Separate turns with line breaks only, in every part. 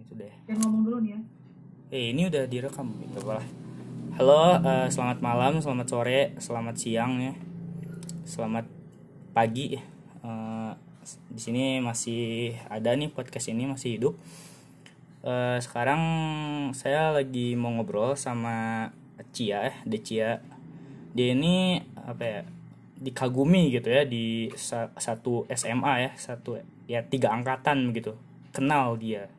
itu deh
Jangan ngomong dulu nih ya.
eh ini udah direkam gitu lah halo eh, selamat malam selamat sore selamat siang ya selamat pagi Eh, di sini masih ada nih podcast ini masih hidup Eh, sekarang saya lagi mau ngobrol sama Cia ya Decia dia ini apa ya dikagumi gitu ya di sa- satu SMA ya satu ya tiga angkatan begitu kenal dia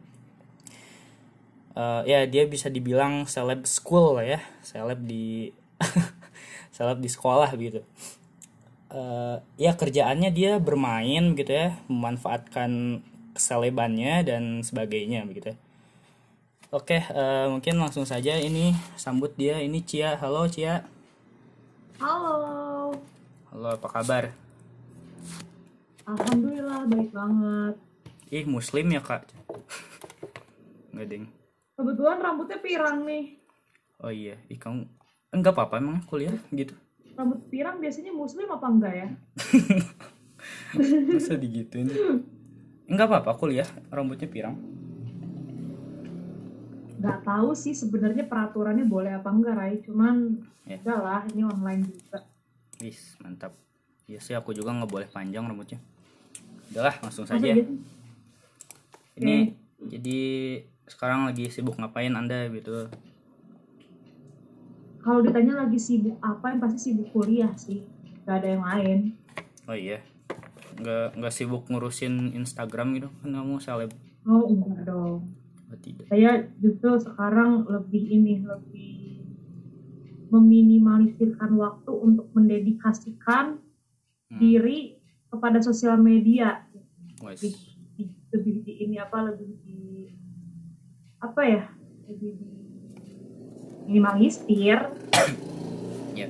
Eh, ya dia bisa dibilang seleb school lah ya seleb di seleb di sekolah gitu Eh, ya kerjaannya dia bermain gitu ya memanfaatkan keselebannya dan sebagainya begitu ya. oke eh, mungkin langsung saja ini sambut dia ini Cia halo Cia
Halo.
halo apa kabar
Alhamdulillah baik banget.
ih muslim ya kak nggak ding
Kebetulan rambutnya pirang nih.
oh iya ih kamu enggak apa-apa emang kuliah gitu
Rambut pirang biasanya muslim apa enggak ya?
masa digituin enggak apa-apa kuliah rambutnya pirang
Gak tahu sih sebenarnya peraturannya boleh apa enggak, Rai. Cuman
Ya.
enggak lah, ini online juga.
Wis, mantap. Iya sih aku juga nggak boleh panjang rambutnya. Udahlah, langsung
Masa
saja. ya.
gitu? Hmm.
Ini jadi sekarang lagi sibuk ngapain Anda gitu.
Kalau ditanya lagi sibuk apa, yang pasti sibuk kuliah sih. Gak ada yang lain.
Oh iya. Nggak nggak sibuk ngurusin Instagram gitu kan kamu seleb.
Oh, enggak dong.
Oh, tidak.
saya justru sekarang lebih ini lebih meminimalisirkan waktu untuk mendedikasikan
Hmm.
diri kepada sosial media lebih,
Wes.
di- lebih di ini apa lebih di apa ya lebih di minimalisir
Ya.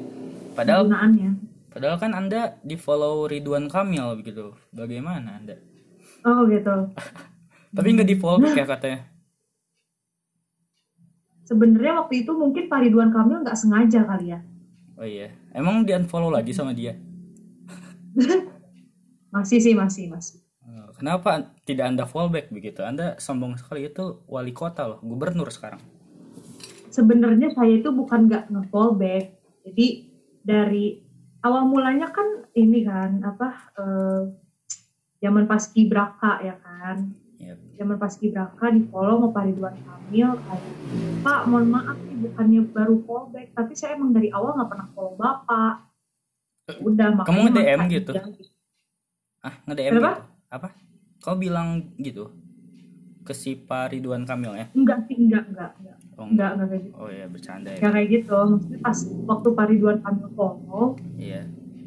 Padahal
penggunaannya
padahal kan Anda di follow Ridwan Kamil begitu. Bagaimana Anda?
oh gitu
Tapi nggak di follow ya katanya.
sebenarnya waktu itu mungkin Pak Ridwan Kamil nggak sengaja kali ya
Oh iya. Emang di unfollow lagi sama dia?
masih sih masih masih
Eh, Kenapa tidak Anda fallback begitu? Anda sombong sekali itu wali kota loh, gubernur sekarang.
sebenarnya saya itu bukan nggak nge-fall back. Jadi dari awal mulanya kan ini kan apa eh, zaman paskibraka ya kan.
Yap.
Zaman paskibraka di follow sama Pak Ridwan Kamil kayak Pak mohon maaf nih bukannya baru fall back tapi saya emang dari awal nggak pernah follow Bapak. Udah makanya
Kamu nge-DM
makanya
gitu?
jangan-
Ah, nge-DM
Kenapa?
gitu. Apa? Kau bilang gitu ke si Pak Ridwan Kamil ya?
Enggak sih, enggak, enggak, enggak,
Oh,
enggak, enggak kayak gitu.
Oh iya, bercanda ya.
Enggak kayak gitu, maksudnya pas waktu Pak Ridwan Kamil follow,
Iya.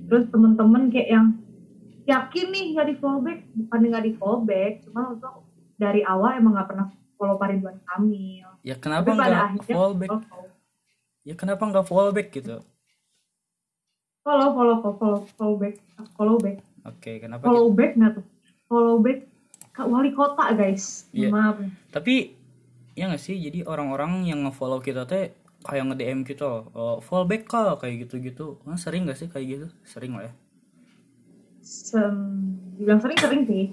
terus temen-temen kayak yang yakin nih nggak di fallback bukan nggak di fallback cuma untuk dari awal emang nggak pernah follow Paridwan Kamil
Ya
tapi
kenapa
pada
nggak
akhirnya
fallback?
follow
Ya kenapa nggak fallback gitu?
follow follow follow follow, follow back follow back
Oke, kenapa? gitu?
follow back nggak tuh follow back ke wali kota guys
Iya.
maaf
Tapi ya nggak sih? Jadi orang-orang yang nge-follow kita teh kayak nge-DM kita, oh, fallback kah kayak gitu-gitu. Kan sering nggak sih kayak gitu? Sering lah ya.
Sem- dibilang sering sering sih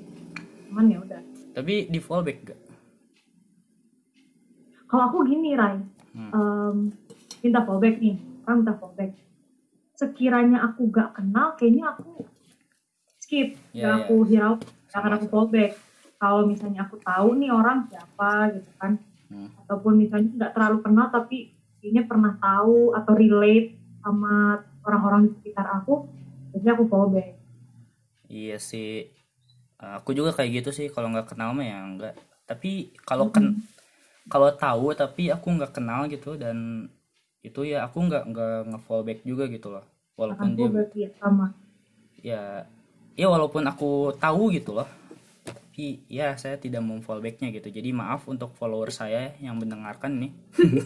cuman ya udah
Tapi di fallback gak?
kalau aku gini Rai
Hmm.
em, minta fallback nih orang minta fallback sekiranya aku gak kenal kayaknya aku skip
Iya,
gak
iya.
aku hirau gak akan
Sama,
aku
sama.
fallback kalau misalnya aku tahu nih orang siapa gitu kan
Hmm.
ataupun misalnya nggak terlalu kenal tapi kayaknya pernah tahu atau relate sama orang-orang di sekitar aku biasanya aku fallback
Iya sih, aku juga kayak gitu sih. Kalau nggak kenal mah ya nggak. Tapi kalau ken, kalau tahu tapi aku nggak kenal gitu dan itu ya aku nggak nggak nge-fallback juga gitu loh.
akan
Walaupun dia
fallback ya sama
ya ya walaupun aku tahu gitu loh. Tapi ya saya tidak mau fallbacknya gitu. Jadi maaf untuk follower saya yang mendengarkan nih.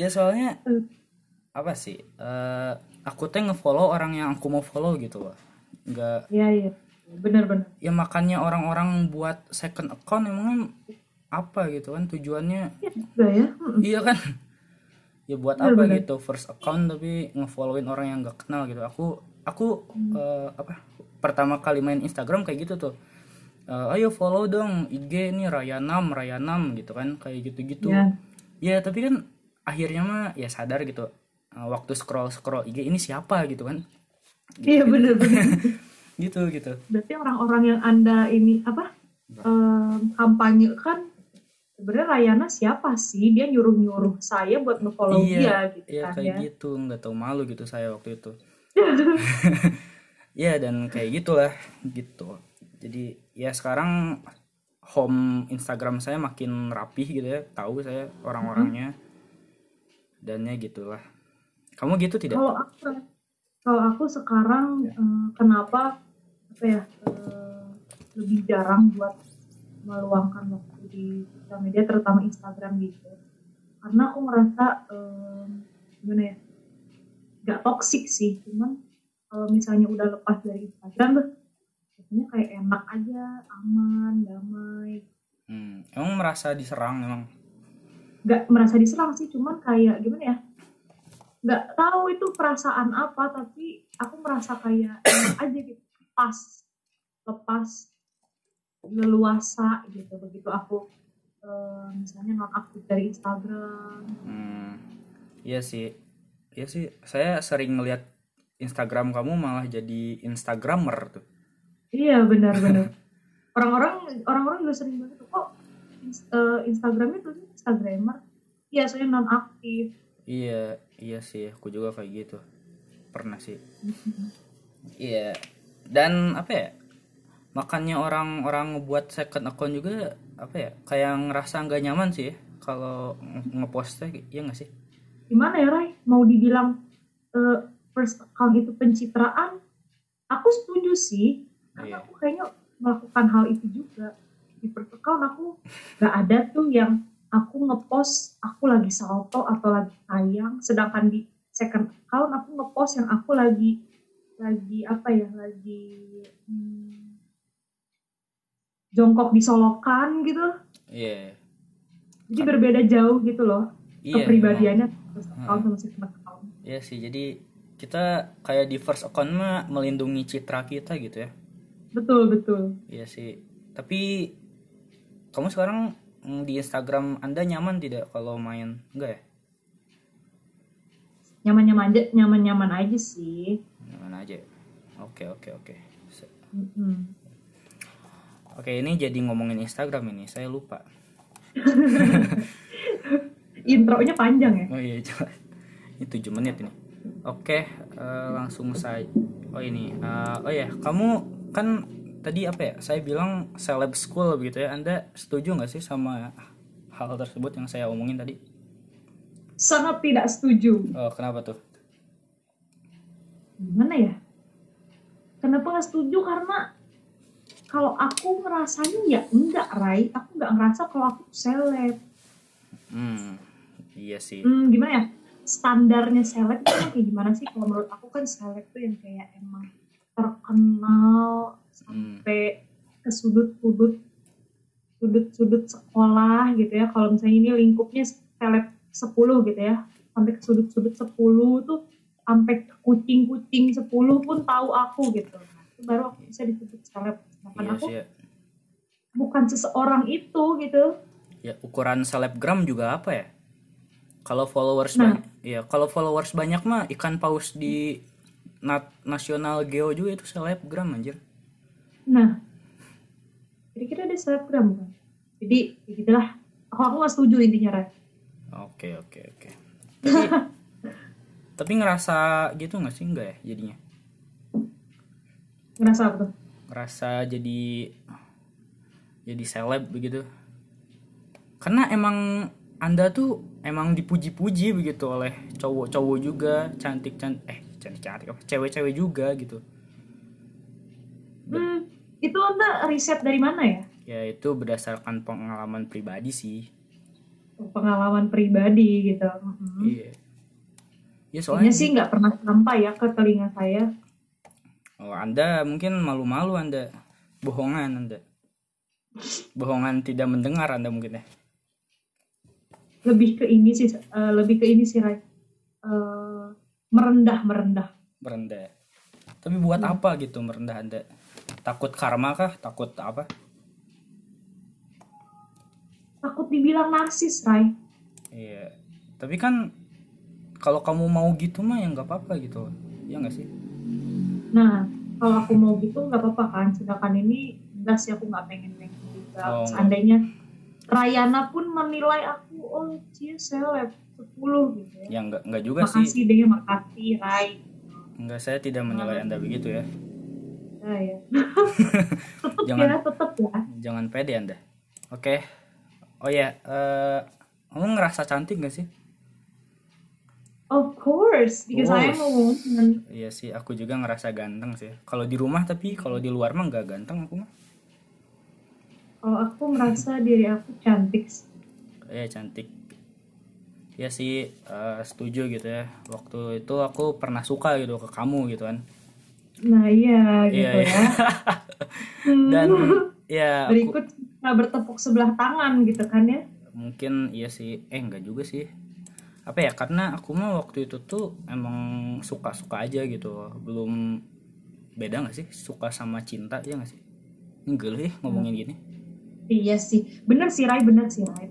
ya soalnya apa sih? eh, aku teh nge-follow orang yang aku mau follow gitu loh. Nggak
iya iya bener-bener
ya makanya orang-orang buat second account emangnya apa gitu kan tujuannya
ya juga ya Mm-mm.
iya kan ya buat
Bener,
apa
bener.
gitu first account tapi ngefollowin orang yang gak
Hmm.
kenal gitu aku aku eh, apa pertama kali main Instagram kayak gitu tuh eh, ayo follow dong IG nih Rayanam Rayanam gitu kan kayak gitu-gitu
Ya.
ya tapi kan akhirnya mah ya sadar gitu eh, waktu scroll scroll IG ini siapa gitu kan
Iya bener-bener.
gitu gitu
Berarti orang-orang yang anda ini apa
Nah.
em, kampanyekan sebenarnya Rayana siapa sih? Dia nyuruh-nyuruh saya buat nge-follow
Iya,
dia gitu
ya
kan
kayak
ya.
gitu nggak tahu malu gitu saya waktu itu ya dan kayak gitulah gitu jadi ya sekarang home Instagram saya makin rapih gitu ya tahu saya orang-orangnya dan ya gitulah kamu gitu tidak
Kalau aku kalau aku sekarang eh, kenapa apa ya eh, lebih jarang buat meluangkan waktu di sosial media terutama Instagram gitu. Karena aku ngerasa eh, gimana ya? nggak toksik sih, cuman kalau misalnya udah lepas dari Instagram tuh biasanya kayak enak aja, aman, damai,
Hmm, emang merasa diserang emang
nggak merasa diserang sih cuman kayak gimana ya nggak tahu itu perasaan apa tapi aku merasa kayak enak aja gitu pas lepas leluasa gitu begitu aku eh, misalnya non aktif dari Instagram
Hmm, iya sih iya sih saya sering melihat Instagram kamu malah jadi Instagramer tuh
iya benar-benar orang-orang orang-orang juga sering banget tuh, kok ins- eh, Instagramnya tuh Instagramer iya soalnya non aktif
iya iya sih aku juga kayak gitu pernah sih Iya. Dan apa ya? Makanya orang-orang ngebuat second account juga apa ya? Kayak ngerasa nggak nyaman sih ya, kalau nge- ngepostnya, ya nggak sih?
gimana ya Ray mau dibilang eh, first account itu pencitraan aku setuju sih karena
Iya.
aku kayaknya melakukan hal itu juga di first account aku gak ada tuh yang aku ngepost aku lagi salto atau lagi sayang sedangkan di second account aku ngepost yang aku lagi lagi apa ya lagi hmm, jongkok di solokan gitu
Iya.
jadi berbeda jauh gitu loh
Iya. memang.
kepribadiannya first account sama second account
Iya sih. Jadi kita kayak di first account mah melindungi citra kita gitu ya.
Betul, betul.
Iya sih. Tapi kamu sekarang mm, di Instagram Anda nyaman tidak kalau main? Enggak ya?
Nyaman-nyaman aja, nyaman-nyaman aja sih.
Nyaman aja. ya? Oke, oke, oke. Se-
Mm-mm.
Oke, ini jadi ngomongin Instagram ini. Saya lupa.
Intronya panjang ya.
Oh iya, coba. Ini 7 menit ini. Oke, eh, langsung saya. Oh ini. eh, oh ya, kamu kan tadi apa ya? Saya bilang seleb school begitu ya. Anda setuju nggak sih sama hal tersebut yang saya omongin tadi?
Sangat tidak setuju.
Oh, kenapa tuh?
Gimana ya? Kenapa nggak setuju? Karena kalau aku ngerasanya ya enggak, Rai. Aku nggak ngerasa kalau aku seleb.
Hmm. Iya sih.
Hmm, gimana ya? Standarnya seleb itu emang kayak gimana sih? Kalau menurut aku kan seleb tuh yang kayak emang terkenal
Hmm.
sampai ke sudut-sudut sudut-sudut sekolah gitu ya kalau misalnya ini lingkupnya seleb 10 gitu ya sampai ke sudut-sudut 10 tuh sampai ke kucing-kucing 10 pun tahu aku gitu Nah, itu baru aku bisa disebut seleb
Iya
Sedangkan aku
sih. Ya.
bukan seseorang itu gitu
Ya, ukuran selebgram juga apa ya? Kalau followers
Nah.
banyak, ya kalau followers banyak mah ikan paus di nat nasional geo juga itu selebgram anjir.
nah kira-kira ada selebgram bukan jadi ya gitulah aku aku gak setuju intinya Ren
Oke oke oke. Tapi, tapi ngerasa gitu nggak sih nggak ya jadinya?
ngerasa apa tuh
Ngerasa jadi jadi seleb begitu? Karena emang anda tuh emang dipuji-puji begitu oleh cowok-cowok juga cantik cantik eh cantik cantik apa cewek-cewek juga gitu.
hmm, itu anda riset dari mana ya
Ya itu berdasarkan pengalaman pribadi sih.
pengalaman pribadi gitu Mm-mm.
Iya. Ya
Kayaknya
soalnya
sih nggak pernah sampai ya ke telinga saya.
Oh, Anda mungkin malu-malu Anda. Bohongan Anda. Bohongan tidak mendengar Anda mungkin ya.
Lebih ke ini sih, eh, lebih ke ini sih, Ray. Eh, merendah, merendah.
Merendah. Tapi buat apa gitu merendah Anda? Takut karma kah? Takut apa?
dibilang narsis Rai
Iya. Tapi kan kalau kamu mau gitu mah ya nggak apa-apa gitu. Ya nggak sih?
nah kalau aku mau gitu nggak apa-apa kan sedangkan ini enggak sih aku nggak pengen pengen juga
Oh.
seandainya Rayana pun menilai aku oh cie seleb 10 gitu ya
Ya nggak nggak juga sih.
makasih deh makasih Rai
Nggak saya tidak menilai anda begitu ya.
Nah, ya. tetep
Jangan.
ya tetep ya
Jangan pede anda. Oke. Oh ya. eh, kamu ngerasa cantik nggak sih?
of course because I am a woman
Iya sih. Aku juga ngerasa ganteng sih. Kalau di rumah tapi kalau di luar mah nggak ganteng aku mah.
kalau Oh, aku merasa diri aku cantik sih.
ya cantik ya sih eh, setuju gitu ya waktu itu aku pernah suka gitu ke kamu gitu kan
nah iya
iya
gitu
iya
ya Hmm.
dan ya aku
berikut kita bertepuk sebelah tangan gitu kan ya
mungkin iya sih eh enggak juga sih apa ya karena aku mah waktu itu tuh emang suka suka aja gitu belum beda nggak sih suka sama cinta ya nggak sih enggak lah ya ngomongin gini
iya sih bener sih Rai bener sih Rai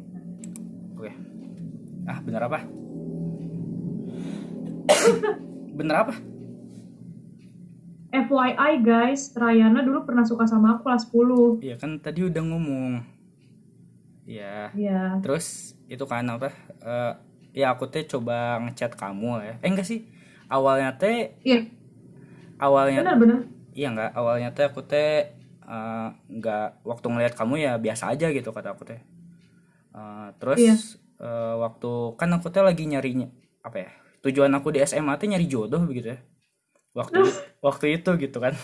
oke ah bener apa bener apa
FYI guys Rayana dulu pernah suka sama aku kelas 10
Iya kan tadi udah ngomong. Iya.
iya
Terus itu kan apa? eh, ya aku teh coba ngechat kamu lah ya. Eh enggak sih. Awalnya teh
iya
awalnya
bener bener
iya enggak awalnya teh aku teh eh, enggak waktu ngeliat kamu ya biasa aja gitu kata aku teh. Eh, terus
Iya.
eh, waktu kan aku teh lagi nyari apa ya? Tujuan aku di SMA teh nyari jodoh begitu ya. Waktu waktu itu gitu kan.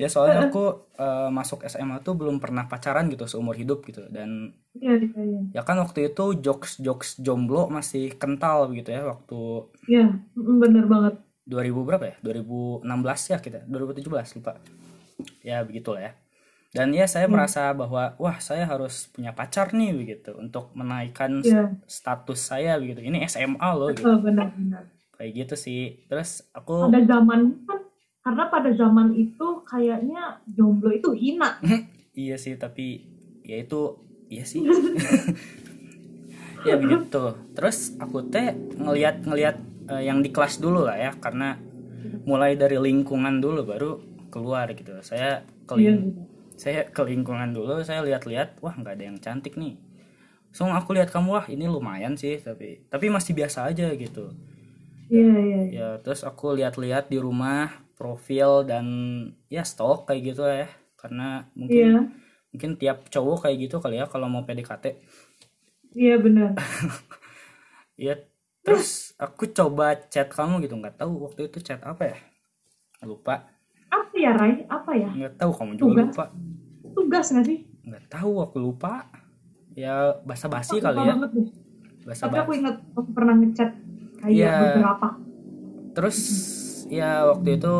Ya soalnya aku eh, masuk SMA tuh belum pernah pacaran gitu seumur hidup gitu dan
iya iya iya
ya kan waktu itu jokes jokes jomblo masih kental begitu ya waktu
iya mm, bener banget
2000 berapa ya 2016 ya kita 2017 lupa ya begitulah ya dan ya
Hmm.
saya merasa bahwa wah saya harus punya pacar nih begitu untuk menaikkan s-
Iya.
status saya begitu ini SMA loh gitu
betul bener bener
kayak gitu sih terus aku
pada zaman kan karena pada zaman itu kayaknya jomblo itu hina
iya sih tapi ya itu iya sih ya begitu terus aku teh ngelihat ngelihat eh, yang di kelas dulu lah ya karena mulai dari lingkungan dulu baru keluar gitu saya ke
Iya,
ling-
bener.
saya ke lingkungan dulu saya lihat-lihat wah nggak ada yang cantik nih so aku lihat kamu wah ini lumayan sih tapi tapi masih biasa aja gitu
iya iya iya
ya terus aku lihat-lihat di rumah profil dan ya stok kayak gitu lah ya karena mungkin
iya
mungkin tiap cowok kayak gitu kali ya kalau mau PDKT
iya bener
ya terus aku coba chat kamu gitu nggak tahu waktu itu chat apa ya lupa
apa ya Rai apa ya
nggak tahu kamu juga
Tugas.
lupa
tugas nggak sih
nggak tahu aku lupa ya basa basi
Aku
kali
lupa
ya
banget deh.
basa
tapi aku
basi
ingat aku pernah ngechat kayak
Iya.
beberapa
terus ya waktu itu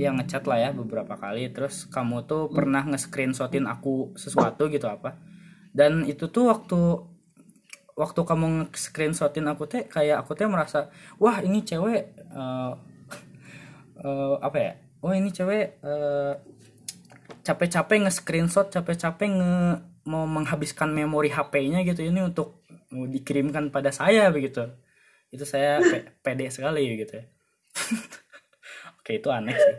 ya ngechat lah ya beberapa kali terus kamu tuh pernah nge-screenshotin aku sesuatu gitu apa dan itu tuh waktu waktu kamu nge-screenshotin aku teh kayak aku teh merasa wah ini cewek eh, eh, apa ya oh ini cewek eh, capek-capek nge-screenshot capek-capek nge- mau menghabiskan memori HP-nya gitu ini untuk dikirimkan pada saya begitu itu saya pe- pede sekali gitu ya. oke itu aneh sih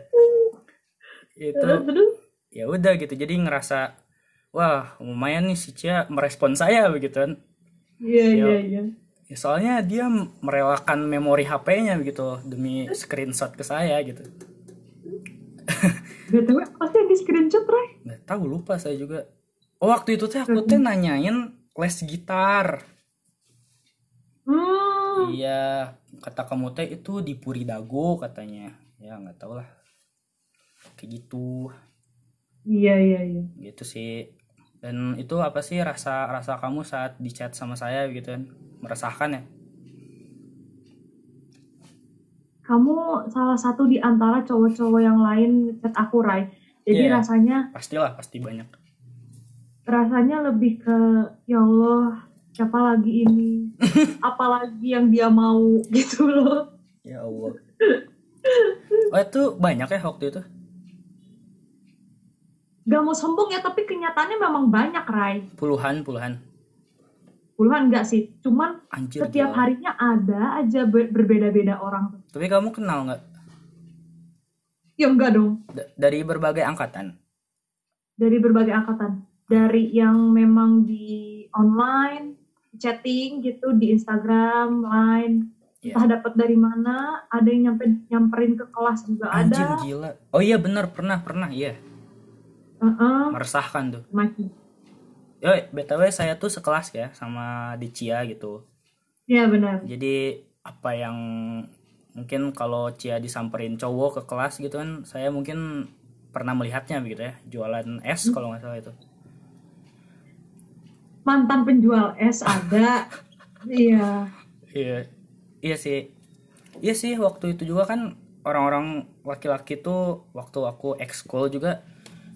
itu
Terus, terus?
ya udah gitu jadi ngerasa wah lumayan nih si Cia merespon saya begitu kan
iya
Yo.
iya iya
Ya, soalnya dia merelakan memori HP-nya begitu demi screenshot ke saya gitu
btw pasti yang di screenshot Rai
nggak tahu lupa saya juga oh waktu itu teh aku teh nanyain les gitar
hmm
iya kata kamu teh itu di Puri Dago katanya ya nggak tahu lah kayak gitu
iya iya iya
gitu sih dan itu apa sih rasa rasa kamu saat di chat sama saya gitu kan meresahkan ya
kamu salah satu di antara cowok-cowok yang lain ngechat aku Rai jadi
Iya.
rasanya
pastilah pasti banyak
rasanya lebih ke ya Allah siapa lagi ini apalagi yang dia mau gitu loh
ya allah oh itu banyak ya waktu itu
gak mau sombong ya tapi kenyataannya memang banyak Rai
puluhan puluhan
puluhan enggak sih cuman
Anjir.
setiap
gila.
harinya ada aja ber- berbeda-beda orang
Tapi kamu kenal nggak
ya enggak dong
D- dari berbagai angkatan?
dari berbagai angkatan dari yang memang di online chatting gitu di Instagram line
Iya.
entah dapat dari mana ada yang nyampe nyamperin ke kelas juga
Anjing
ada
gila. Oh iya benar pernah pernah iya.
Heeh,
Meresahkan tuh.
maki
Yo, BTW saya tuh sekelas ya sama Dicia gitu.
ya benar
Jadi apa yang mungkin kalau Cia disamperin cowok ke kelas gitu kan, saya mungkin pernah melihatnya begitu ya, jualan es kalau nggak salah itu.
mantan penjual es ada iya
Iya. Iya sih. Iya sih waktu itu juga kan orang-orang laki-laki tuh waktu aku ekskul juga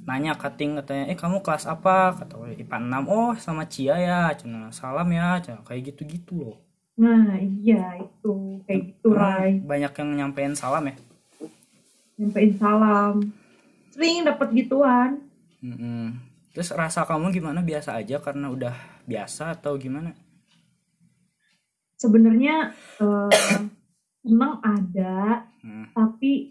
nanya cutting katanya, "Eh, kamu kelas apa?" kata gue, IPA 6. "Oh, sama Cia ya." Cina, "Salam ya." Cina, kayak gitu-gitu loh.
nah iya itu kayak gitu
Nah.
Rai
Emang Banyak yang nyampein salam ya.
nyampein salam sering dapat gituan
Mm-mm. Terus rasa kamu gimana? Biasa aja karena udah biasa atau gimana?
sebenarnya eh, senang ada
Hmm,
tapi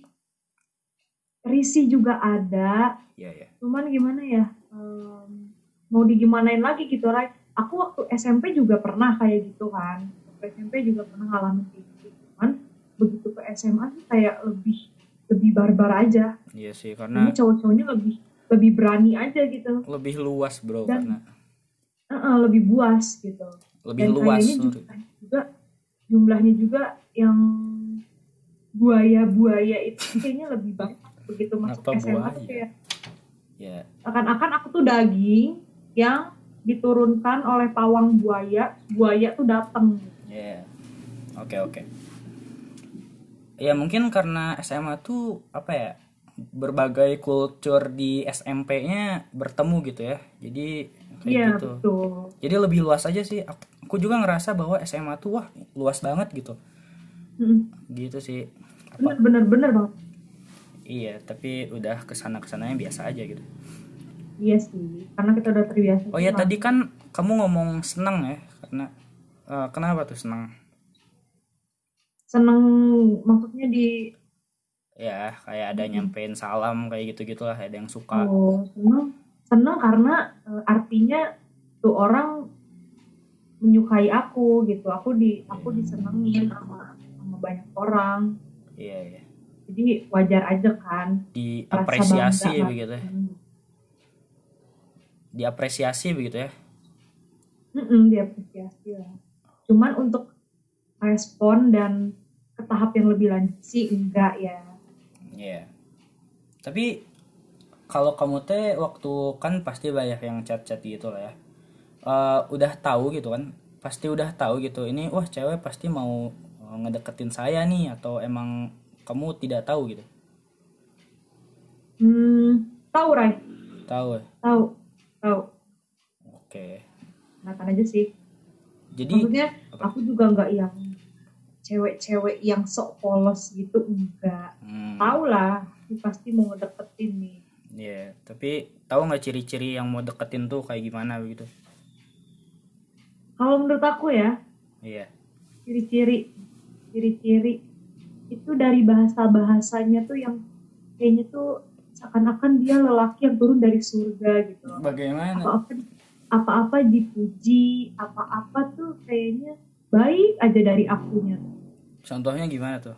risih juga ada
iya ya.
cuman gimana ya em, mau digimanain lagi gitu Rai aku waktu SMP juga pernah kayak gitu kan waktu SMP juga pernah ngalamin kayak gitu cuman begitu ke SMA sih kayak lebih lebih barbar aja
Iya sih
ini
karena
cowok-cowoknya lebih lebih berani aja gitu
lebih luas, Bro,
Dan-
karena
Eh, eh, lebih buas gitu
lebih
dan
luas.
kayaknya
sorry.
juga, juga jumlahnya juga yang buaya-buaya itu kayaknya lebih banyak begitu masuk
Kenapa
SMA
buaya?
tuh kayak
Ya,
akan-akan aku tuh daging yang diturunkan oleh pawang buaya buaya tuh datang
ya. Oke, oke. Ya mungkin karena SMA tuh apa ya? Berbagai kultur di SMP-nya bertemu gitu ya. Jadi kayak
iya
gitu.
betul
Jadi lebih luas aja sih. Aku aku juga ngerasa bahwa SMA tuh wah luas banget gitu.
Mm,
Gitu sih. Apa
bener bener bener banget
Iya, tapi udah kesana kesananya biasa aja gitu.
iya sih karena kita udah terbiasa
Oh ya
sama-
tadi kan kamu ngomong senang ya, karena eh, kenapa tuh senang?
seneng maksudnya di
Ya kayak ada nyampein salam kayak gitu gitulah, ada yang suka.
oh, seneng seneng karena eh, artinya tuh orang menyukai aku gitu aku di aku disenengin sama sama banyak orang
Iya iya.
jadi wajar aja kan Rasa
Diapresiasi
bangga,
begitu, ya.
Hmm.
diapresiasi begitu ya.
Mm-mm, diapresiasi lah. Cuman untuk respon dan ke tahap yang lebih lanjut sih enggak ya.
Iya. Tapi kalau kamu teh waktu kan pasti banyak yang chat-chat gitu lah ya. Eh, udah tahu gitu kan, pasti udah tahu gitu. Ini wah cewek pasti mau eh, ngedeketin saya nih atau emang kamu tidak tahu gitu?
Hmm, tahu Rai,
Tahu. ya?
tahu, tahu.
Oke.
Kenapa aja sih?
Jadi
Maksudnya
apa?
aku juga enggak yang cewek-cewek yang sok polos gitu enggak.
hmm,
Tahu lah, ini pasti mau ngedeketin nih.
iya. tapi tahu nggak ciri-ciri yang mau deketin tuh kayak gimana begitu?
Kalau menurut aku ya,
Iya.
ciri-ciri ciri-ciri itu dari bahasa bahasanya tuh yang kayaknya tuh seakan-akan dia lelaki yang turun dari surga gitu loh.
Bagaimana?
apa-apa apa-apa dipuji apa-apa tuh kayaknya baik aja dari akunya
Contohnya gimana tuh?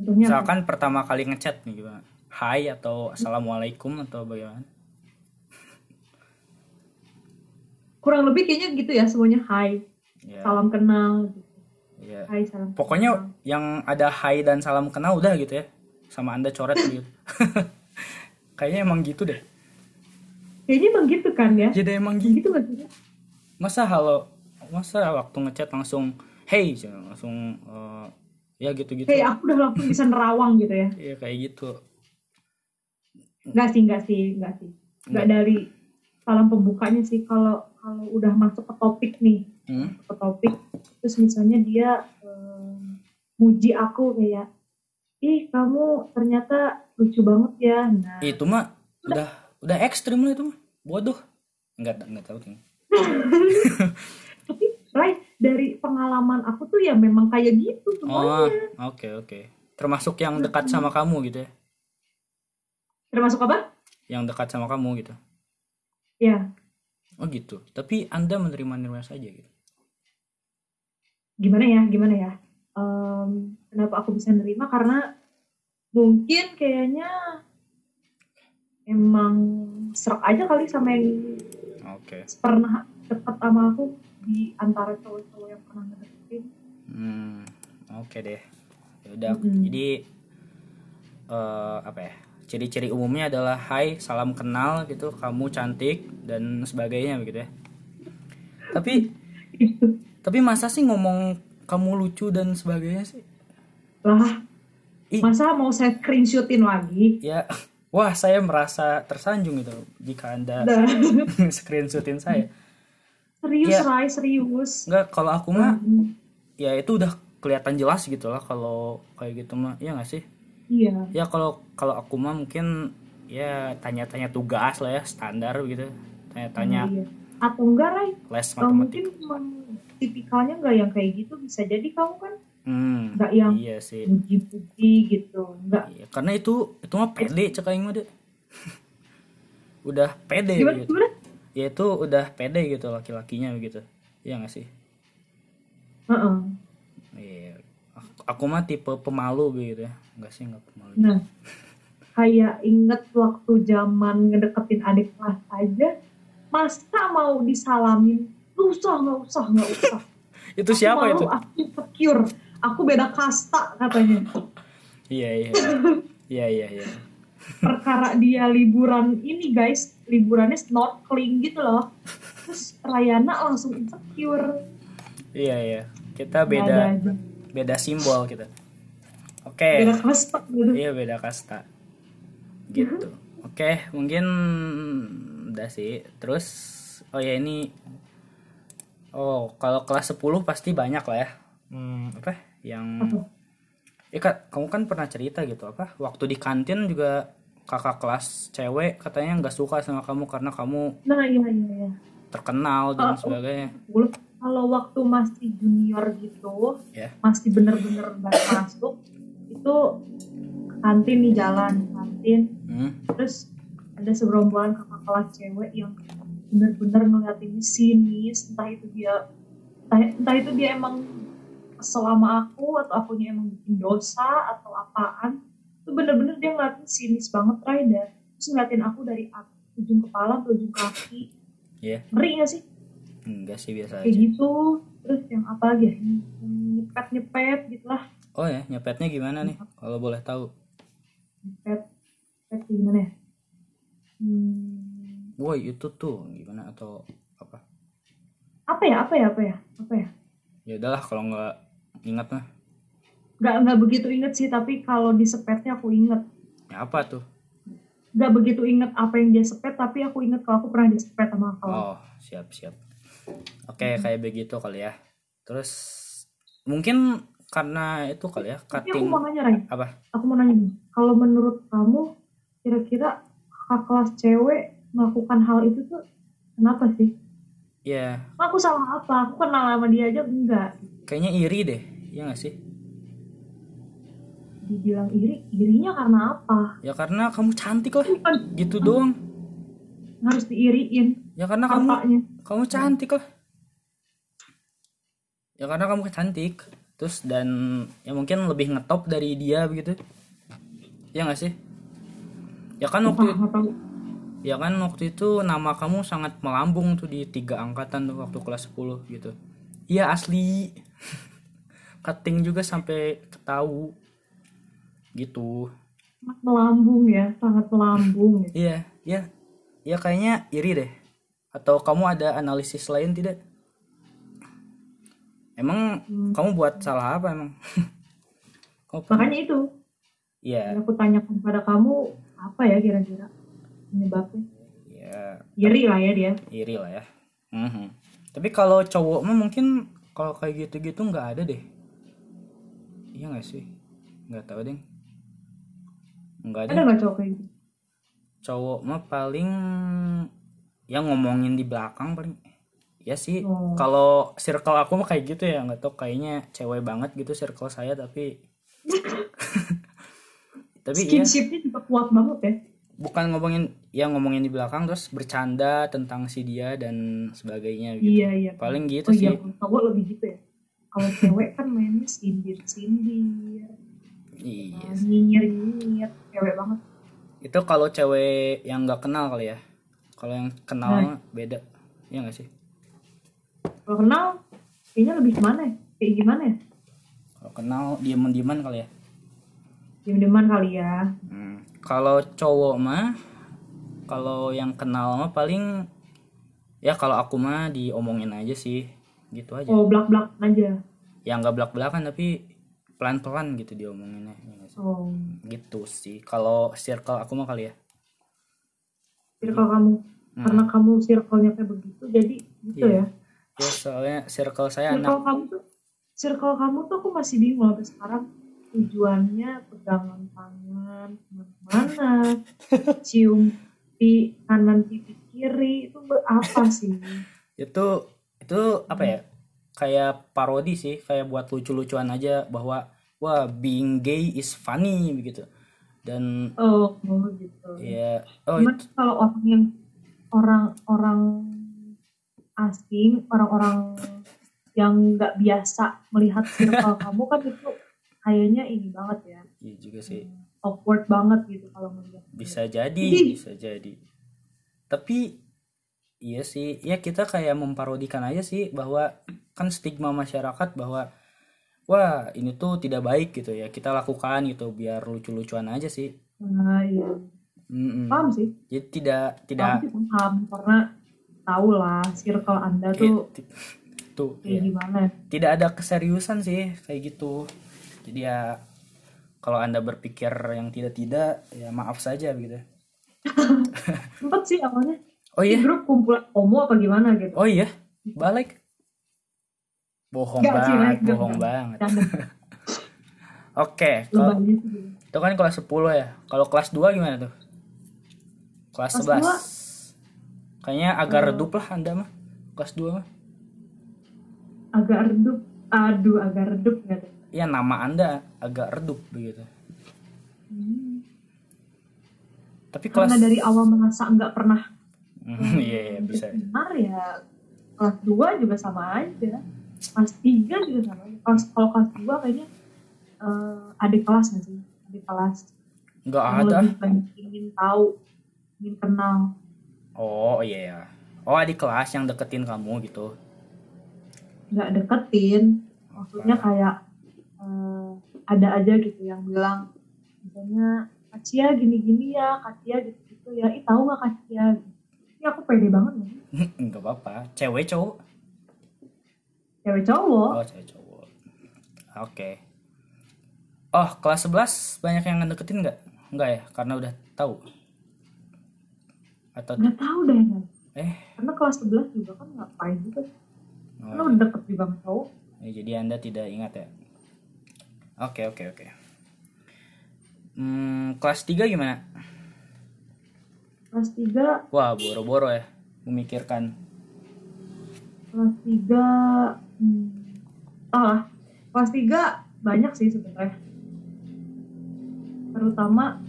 contohnya apa?
Misalkan pertama kali ngechat nih gimana? Hai atau assalamualaikum atau bagaimana?
kurang lebih kayaknya gitu ya semuanya hai
Iya.
salam kenal gitu.
Iya.
hai salam
Pokoknya yang ada hai dan salam kenal udah gitu ya. Sama Anda coret gitu. Kayaknya emang gitu deh.
kenal. kayaknya emang gitu kan ya
Jadi emang gitu.
gitu nggak sih
Masa halo masa waktu ngechat langsung hey cuman langsung eh, ya gitu-gitu.
kayak aku udah langsung bisa nerawang gitu ya
Iya kayak gitu.
Enggak sih, enggak sih, enggak sih. Enggak dari salam pembukanya sih kalau kalau udah masuk ke topik nih,
Hmm?
ke topik terus misalnya dia em, muji aku kayak ih kamu ternyata lucu banget ya. Nah,
Itu mah udah udah ekstrim lah itu mah. Bodoh. Enggak enggak tahu tuh.
tapi dari pengalaman aku tuh ya memang kayak gitu
Oh,
semuanya.
oke oke. Termasuk yang dekat sama kamu gitu ya.
Termasuk apa?
Yang dekat sama kamu gitu.
Ya,
Oh gitu. Tapi Anda menerima-nerima saja gitu.
gimana ya, gimana ya? Em, kenapa aku bisa nerima? Karena mungkin kayaknya emang serak aja kali sama yang
Oke.
pernah dekat sama aku di antara cowok-cowok yang pernah ngedeketin.
Hmm, oke deh. Ya udah.
Mm-mm.
Jadi eh apa ya? Ciri-ciri umumnya adalah hai, salam kenal gitu, kamu cantik dan sebagainya begitu ya. Tapi
Gitu.
tapi masa sih ngomong kamu lucu dan sebagainya sih?
Lah,
Ih.
masa mau saya screenshotin lagi?
Ya, wah saya merasa tersanjung gitu jika Anda
Dah.
screenshotin saya.
serius,
Ya.
Rai, serius.
Enggak, kalau aku mah ya itu udah kelihatan jelas gitu lah kalau kayak gitu mah. Iya nggak sih?
Iya.
ya kalau kalau aku mah mungkin ya tanya-tanya tugas lah ya standar gitu tanya-tanya
Iya. Atau enggak, Rai?
les
Kalau
matematik
Hmm. Oh, mungkin emang tipikalnya nggak yang kayak gitu bisa jadi kamu kan
hmm,
nggak yang
iya sih
puji-puji gitu nggak
Iya, karena itu itu mah pede cek aing mah Dek. udah pede
gimana
gitu
gimana
ya itu udah pede gitu laki-lakinya begitu iya nggak sih
Heeh.
iya aku, aku mah tipe pemalu begitu ya nggak sih nggak pemalu
nah kayak inget waktu zaman ngedeketin adik kelas aja masa mau disalamin lu usah nggak usah nggak usah
itu siapa
malu,
itu
aku insecure aku beda kasta katanya
iya iya iya iya iya
perkara dia liburan ini guys liburannya snorkeling gitu loh terus Rayana langsung insecure
iya iya kita
Nada
beda
aja.
beda simbol kita oke
beda kasta gitu
Eh. Iya beda kasta gitu.
Mhm.
Oke mungkin udah sih. Terus oh ya ini oh kalau kelas 10 pasti banyak lah ya. Hmm, apa yang
Apa?
Eh, Kak, kamu kan pernah cerita gitu apa? Waktu di kantin juga kakak kelas cewek katanya nggak suka sama kamu karena kamu
nah iya iya iya
terkenal dan
Oh.
sebagainya.
Gua- kalau waktu masih junior gitu
Ya.
masih bener-bener baru masuk itu ke kantin nih jalan ke kantin
Hmm.
terus ada segerombolan kakak kelas cewek yang bener-bener ngeliatin sinis entah itu dia entah, entah itu dia emang kesel sama aku atau akunya emang bikin dosa atau apaan itu bener-bener dia ngeliatin sinis banget Raida terus ngeliatin aku dari a- ujung kepala ke ujung kaki
Iya.
ngeri gak sih
Enggak sih biasa
kayak
aja.
gitu terus yang apa lagi ya nyepet nyepet gitu gitulah
Oh ya, nyepetnya gimana nih? Kalau boleh tahu.
nyepet nyepet kayak gimana ya hmm,
Woi, itu tuh gimana atau apa?
apa ya apa ya apa ya apa ya
ya udahlah kalau nggak ingat mah
nggak nggak begitu inget sih tapi kalau di sepetnya aku inget
ya apa tuh
nggak begitu inget apa yang dia sepet tapi aku inget kalau aku pernah disepet sama
oh,
kalau
siap siap oke kayak begitu kali ya terus mungkin karena itu kali ya
tapi aku
cutting
mau nanya Ray
apa
aku mau nanya nih. kalau menurut kamu kira-kira kakak kelas cewek melakukan hal itu tuh kenapa sih
ya
Emang aku salah apa aku kenal sama dia aja enggak
kayaknya iri deh ya nggak sih
dibilang iri irinya karena apa
ya karena kamu cantik lah
Bukan
gitu doang
harus diiriin
ya karena kamu
hartanya
kamu cantik lah ya karena kamu cantik terus dan ya mungkin lebih ngetop dari dia begitu ya nggak sih ya kan waktu
entah apa
Ya kan waktu itu nama kamu sangat melambung tuh di tiga angkatan tuh waktu kelas 10 gitu. Iya asli. Cutting juga sampai ketahu gitu.
sangat melambung ya sangat melambung ya.
Iya, iya. Ya kayaknya iri deh. Atau kamu ada analisis lain tidak? Emang
Hmm.
kamu buat salah apa emang? kamu pernah-
makanya itu
Iya,
yang aku tanyakan pada kamu apa ya kira-kira penyebabnya
iya.
iri lah ya dia
iri lah ya. Mhm. Tapi kalau cowok mah mungkin kalau kayak gitu-gitu nggak ada deh. Iya nggak sih? Nggak tahu deh. Nggak ada.
ada nggak cowok kayak gitu
Cowok mah paling yang ngomongin di belakang paling. ya sih
Oh.
kalau circle aku mah kayak gitu ya nggak tau kayaknya cewek banget gitu circle saya tapi tapi iya
Skinshipnya juga kuat banget ya.
bukan ngomongin ya ngomongin di belakang terus bercanda tentang si dia dan sebagainya gitu
Iya iya.
paling gitu
Oh
sih
iya, kalau cowok lebih gitu ya. Kalau cewek kan mainnya sindir-sindir,
Iya.
nyinyir-nyinyir, cewek banget.
itu kalau cewek yang nggak kenal kali ya kalau yang kenal
Nah.
mah beda ya nggak sih
Kalau kenal, kayaknya lebih gimana ya? Kayak gimana ya?
kalau kenal diem dieman kali ya
Diem-dieman kali ya.
Hmm, Kalau cowok mah, kalau yang kenal mah paling ya kalau aku mah diomongin aja sih, gitu aja.
Oh, blak-blak aja.
Yang nggak belak belakan tapi pelan pelan gitu diomonginnya, ya nggak sih?
Oh,
gitu sih. Kalau circle aku mah kali ya.
circle kamu.
Hmm.
Karena kamu circle-nya kayak begitu, jadi gitu
Iya. nah.
ya.
Ya soalnya circle saya anak
Circle kamu tuh, circle kamu tuh aku masih bingung sampai sekarang tujuannya pegangan tangan kemana-mana, cium pipi kanan pipi kiri itu be- apa sih?
itu itu apa ya? Kayak parodi sih, kayak buat lucu lucuan aja bahwa wah being gay is funny begitu. Dan
Oh, oh gitu.
ya oh
Cuman
itu,
kalau orang yang orang-orang asing, orang-orang yang nggak biasa melihat circle kamu kan itu kayaknya ini banget ya,
iya juga sih.
awkward banget gitu kalau melihat.
bisa jadi
Jadi-
bisa jadi tapi iya sih ya kita kayak memparodikan aja sih bahwa kan stigma masyarakat bahwa wah ini tuh tidak baik gitu ya kita lakukan gitu biar lucu-lucuan aja sih
Nah, iya.
Mm-mm.
Paham sih.
jadi tidak tidak
Paham sih paham karena tahu lah circle anda tuh
eh, ti- tuh
kayak
iya.
gimana.
tidak ada keseriusan sih kayak gitu jadi ya kalau anda berpikir yang tidak-tidak ya maaf saja begitu
Sempet sih awalnya
oh
di
iya
grup kumpulan homo apa gimana gitu.
Oh iya, balik. Bohong
Nggak sih,
banget,
Nek, nggak,
bohong
nggak.
Oh, banget.
Dan
Oke, kalau-
lebahnya tuh gitu.
itu kan kelas 10 ya. Kalau kelas 2 gimana tuh? Kelas
Kelas
11.
Hmm.
Kayaknya agak redup lah Anda mah. Kelas 2 mah.
agak redup. Aduh, agak redup nggak tuh.
Ya nama Anda agak redup begitu.
Hmm.
Tapi kelas
karena dari awal merasa nggak pernah
Hmm, Iya, iya, bisa.
benar ya kelas 2 juga sama aja kelas 3 juga sama aja kelas kalau kelas 2 kayaknya eh ada kelas nggak sih ada kelas
Enggak
yang
ada.
lebih banyak ingin tahu ingin kenal
Oh, iya ya. Oh, adik kelas yang deketin kamu gitu.
nggak deketin
Nah.
maksudnya kayak eh, ada aja gitu yang bilang misalnya Kacia gini-gini ya Kacia gitu-gitu ya ih tahu nggak Kacia ini aku pede banget loh
Enggak apa-apa. Cewek cowok?
cewek cowok
Oh, cewek cowok. Oke. Oh, kelas 11 banyak yang ngedeketin nggak? Nggak ya, karena udah tahu. Atau
nggak tahu deh Nan.
eh
karena kelas 11 juga kan ngapain juga karena
oh,
udah deket juga sama cowok
ya, jadi Anda tidak ingat ya. Oke, oke, oke. Hmm, kelas 3 gimana?
kelas 3
Wah, boro-boro ya memikirkan.
kelas 3 hmm, tau lah kelas 3 banyak sih sebenarnya terutama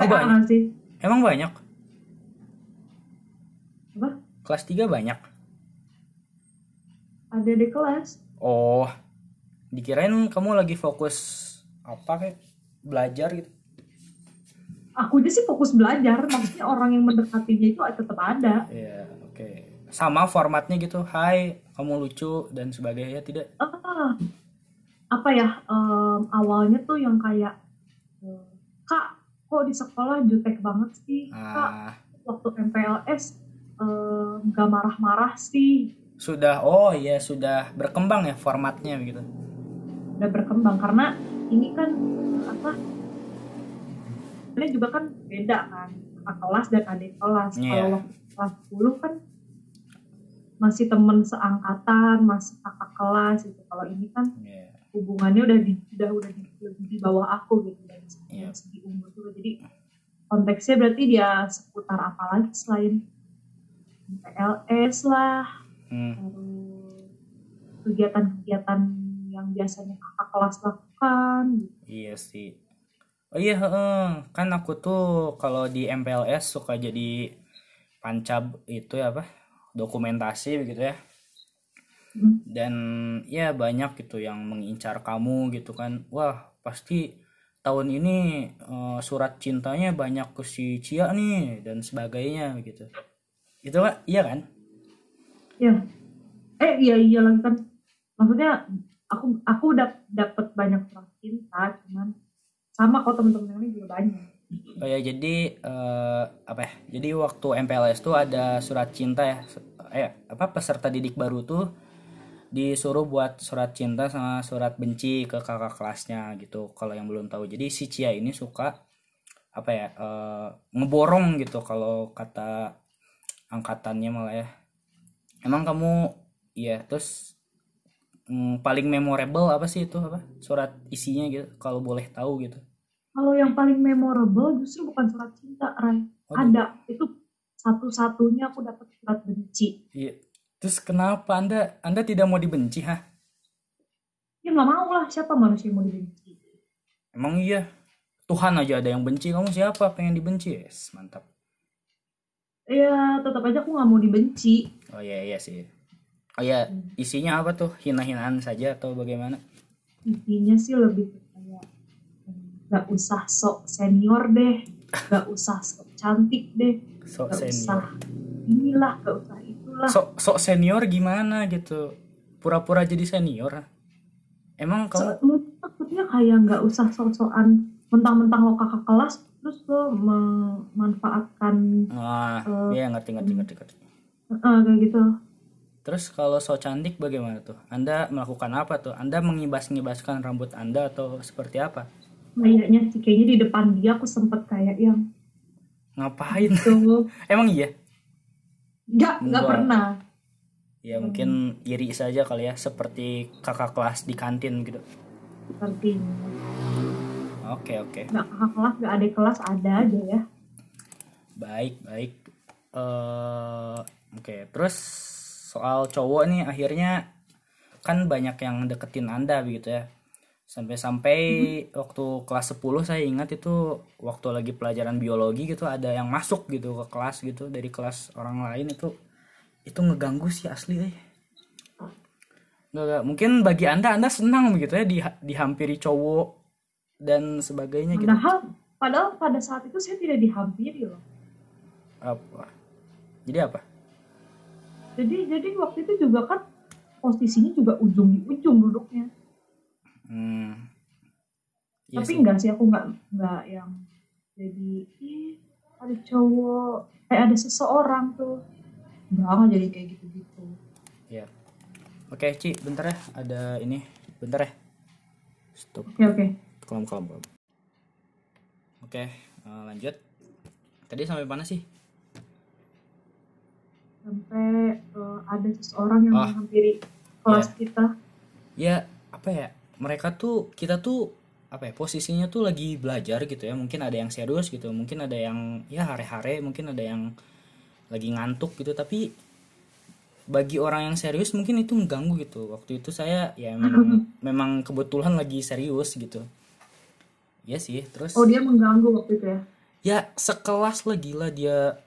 Oh,
PA
banyak.
nggak sih
Emang banyak?
apa
Kelas 3 banyak.
ada di kelas
Oh. Dikirain kamu lagi fokus apa kayak belajar gitu.
aku aja sih fokus belajar maksudnya orang yang mendekatinya itu tetap ada
Iya, oke. Sama formatnya gitu. Hai, kamu lucu dan sebagainya tidak?
Ah, apa ya em, awalnya tuh yang kayak eh, kak kok di sekolah jutek banget sih kak
Ah,
waktu MPLS eh, nggak marah-marah sih
sudah. Oh iya, sudah berkembang ya formatnya begitu.
udah berkembang karena ini kan eh, apa ini juga kan beda kan kakak kelas dan adik kelas
Iya.
kalau waktu kelas 10 kan masih temen seangkatan masih kakak kelas gitu kalau ini kan
Iya.
hubungannya udah di udah udah di, lebih di bawah aku gitu dari segi,
Iya.
segi umur juga jadi konteksnya berarti dia seputar apa lagi selain PLS lah
Hmm.
terus kegiatan-kegiatan yang biasanya kakak kelas lakukan gitu.
Iya sih. Oh iya, heeh. Kan aku tuh kalau di MPLS suka jadi pancab itu ya apa? Dokumentasi begitu ya.
Hmm.
Dan ya banyak gitu yang mengincar kamu gitu kan. Wah, pasti tahun ini eh, surat cintanya banyak ke si Cia nih dan sebagainya gitu. Itu Kak, iya kan?
ya eh iya iya lagi kan maksudnya aku aku udah dapet banyak surat cinta cuman sama kok temen-temen yang lain juga banyak
Oh ya, jadi eh, apa ya? Jadi waktu MPLS tuh ada surat cinta ya. Su- Eh, apa peserta didik baru tuh disuruh buat surat cinta sama surat benci ke kakak kelasnya gitu. Kalau yang belum tahu. Jadi si Cia ini suka apa ya? eh, ngeborong gitu kalau kata angkatannya malah ya. Emang kamu iya terus mm, paling memorable apa sih itu apa? Surat isinya gitu kalau boleh tahu gitu.
kalau yang paling memorable justru bukan surat cinta Ray
Waduh.
ada itu satu-satunya aku dapat surat benci
Iya. Terus kenapa Anda Anda tidak mau dibenci, ha?
ya nggak mau lah siapa manusia yang mau dibenci
Emang iya. Tuhan aja ada yang benci, kamu siapa pengen dibenci? Yes, mantap.
ya tetap aja aku nggak mau dibenci
Oh iya iya sih. Oh iya, isinya apa tuh? Hina-hinaan saja atau bagaimana?
intinya sih lebih ke kayak mm, nggak usah sok senior deh nggak usah sok cantik deh
Sok
nggak usah
senior.
inilah nggak usah itulah
Sok sok senior gimana gitu? Pura-pura jadi senior. ha? Emang kamu
So- mungkin takutnya kayak nggak usah sok-sokan mentang-mentang lo kakak kelas terus lo memanfaatkan
Wah,
Eh,
iya ngerti ngerti ngerti ngerti.
eh, kayak gitu
Terus kalau sok cantik bagaimana tuh? Anda melakukan apa tuh? Anda mengibas-ngibaskan rambut Anda atau seperti apa?
kayaknya sih kayaknya di depan dia aku sempet kayak yang
Ngapain?
tuh
Emang iya?
nggak
Enggak.
nggak pernah
ya mungkin iri saja kali ya seperti kakak kelas di kantin gitu
seperti ini.
oke oke
nggak kakak kelas nggak ada kelas ada aja ya
baik baik eh oke terus soal cowok nih akhirnya kan banyak yang deketin anda begitu ya sampai-sampai waktu kelas 10 saya ingat itu waktu lagi pelajaran biologi gitu ada yang masuk gitu ke kelas gitu dari kelas orang lain itu itu ngeganggu sih asli deh Nggak, nggak. mungkin bagi anda anda senang begitu ya di dihampiri cowok dan sebagainya gitu
padahal padahal pada saat itu saya tidak dihampiri loh
apa jadi apa
jadi jadi waktu itu juga kan posisinya juga ujung di ujung duduknya
Hmm. Iya sih.
tapi enggak sih aku nggak nggak yang jadi ih ada cowok eh ada seseorang tuh enggak nggak jadi kayak gitu gitu
Iya. Oke, Ci, bentar ya. Ada ini. Bentar ya. Stop.
oke oke
Kelam, kelam, kelam. Oke, eh, lanjut. Tadi sampai mana sih?
sampai eh, ada seseorang yang
Ah.
menghampiri kelas kita
Ya, apa ya? Mereka tuh kita tuh apa ya? Posisinya tuh lagi belajar gitu ya. Mungkin ada yang serius gitu, mungkin ada yang ya hare-hare, mungkin ada yang lagi ngantuk gitu, tapi bagi orang yang serius mungkin itu mengganggu gitu. Waktu itu saya ya memang, memang kebetulan lagi serius gitu. Iya sih, terus
oh dia mengganggu waktu itu ya
ya sekelas lah gila dia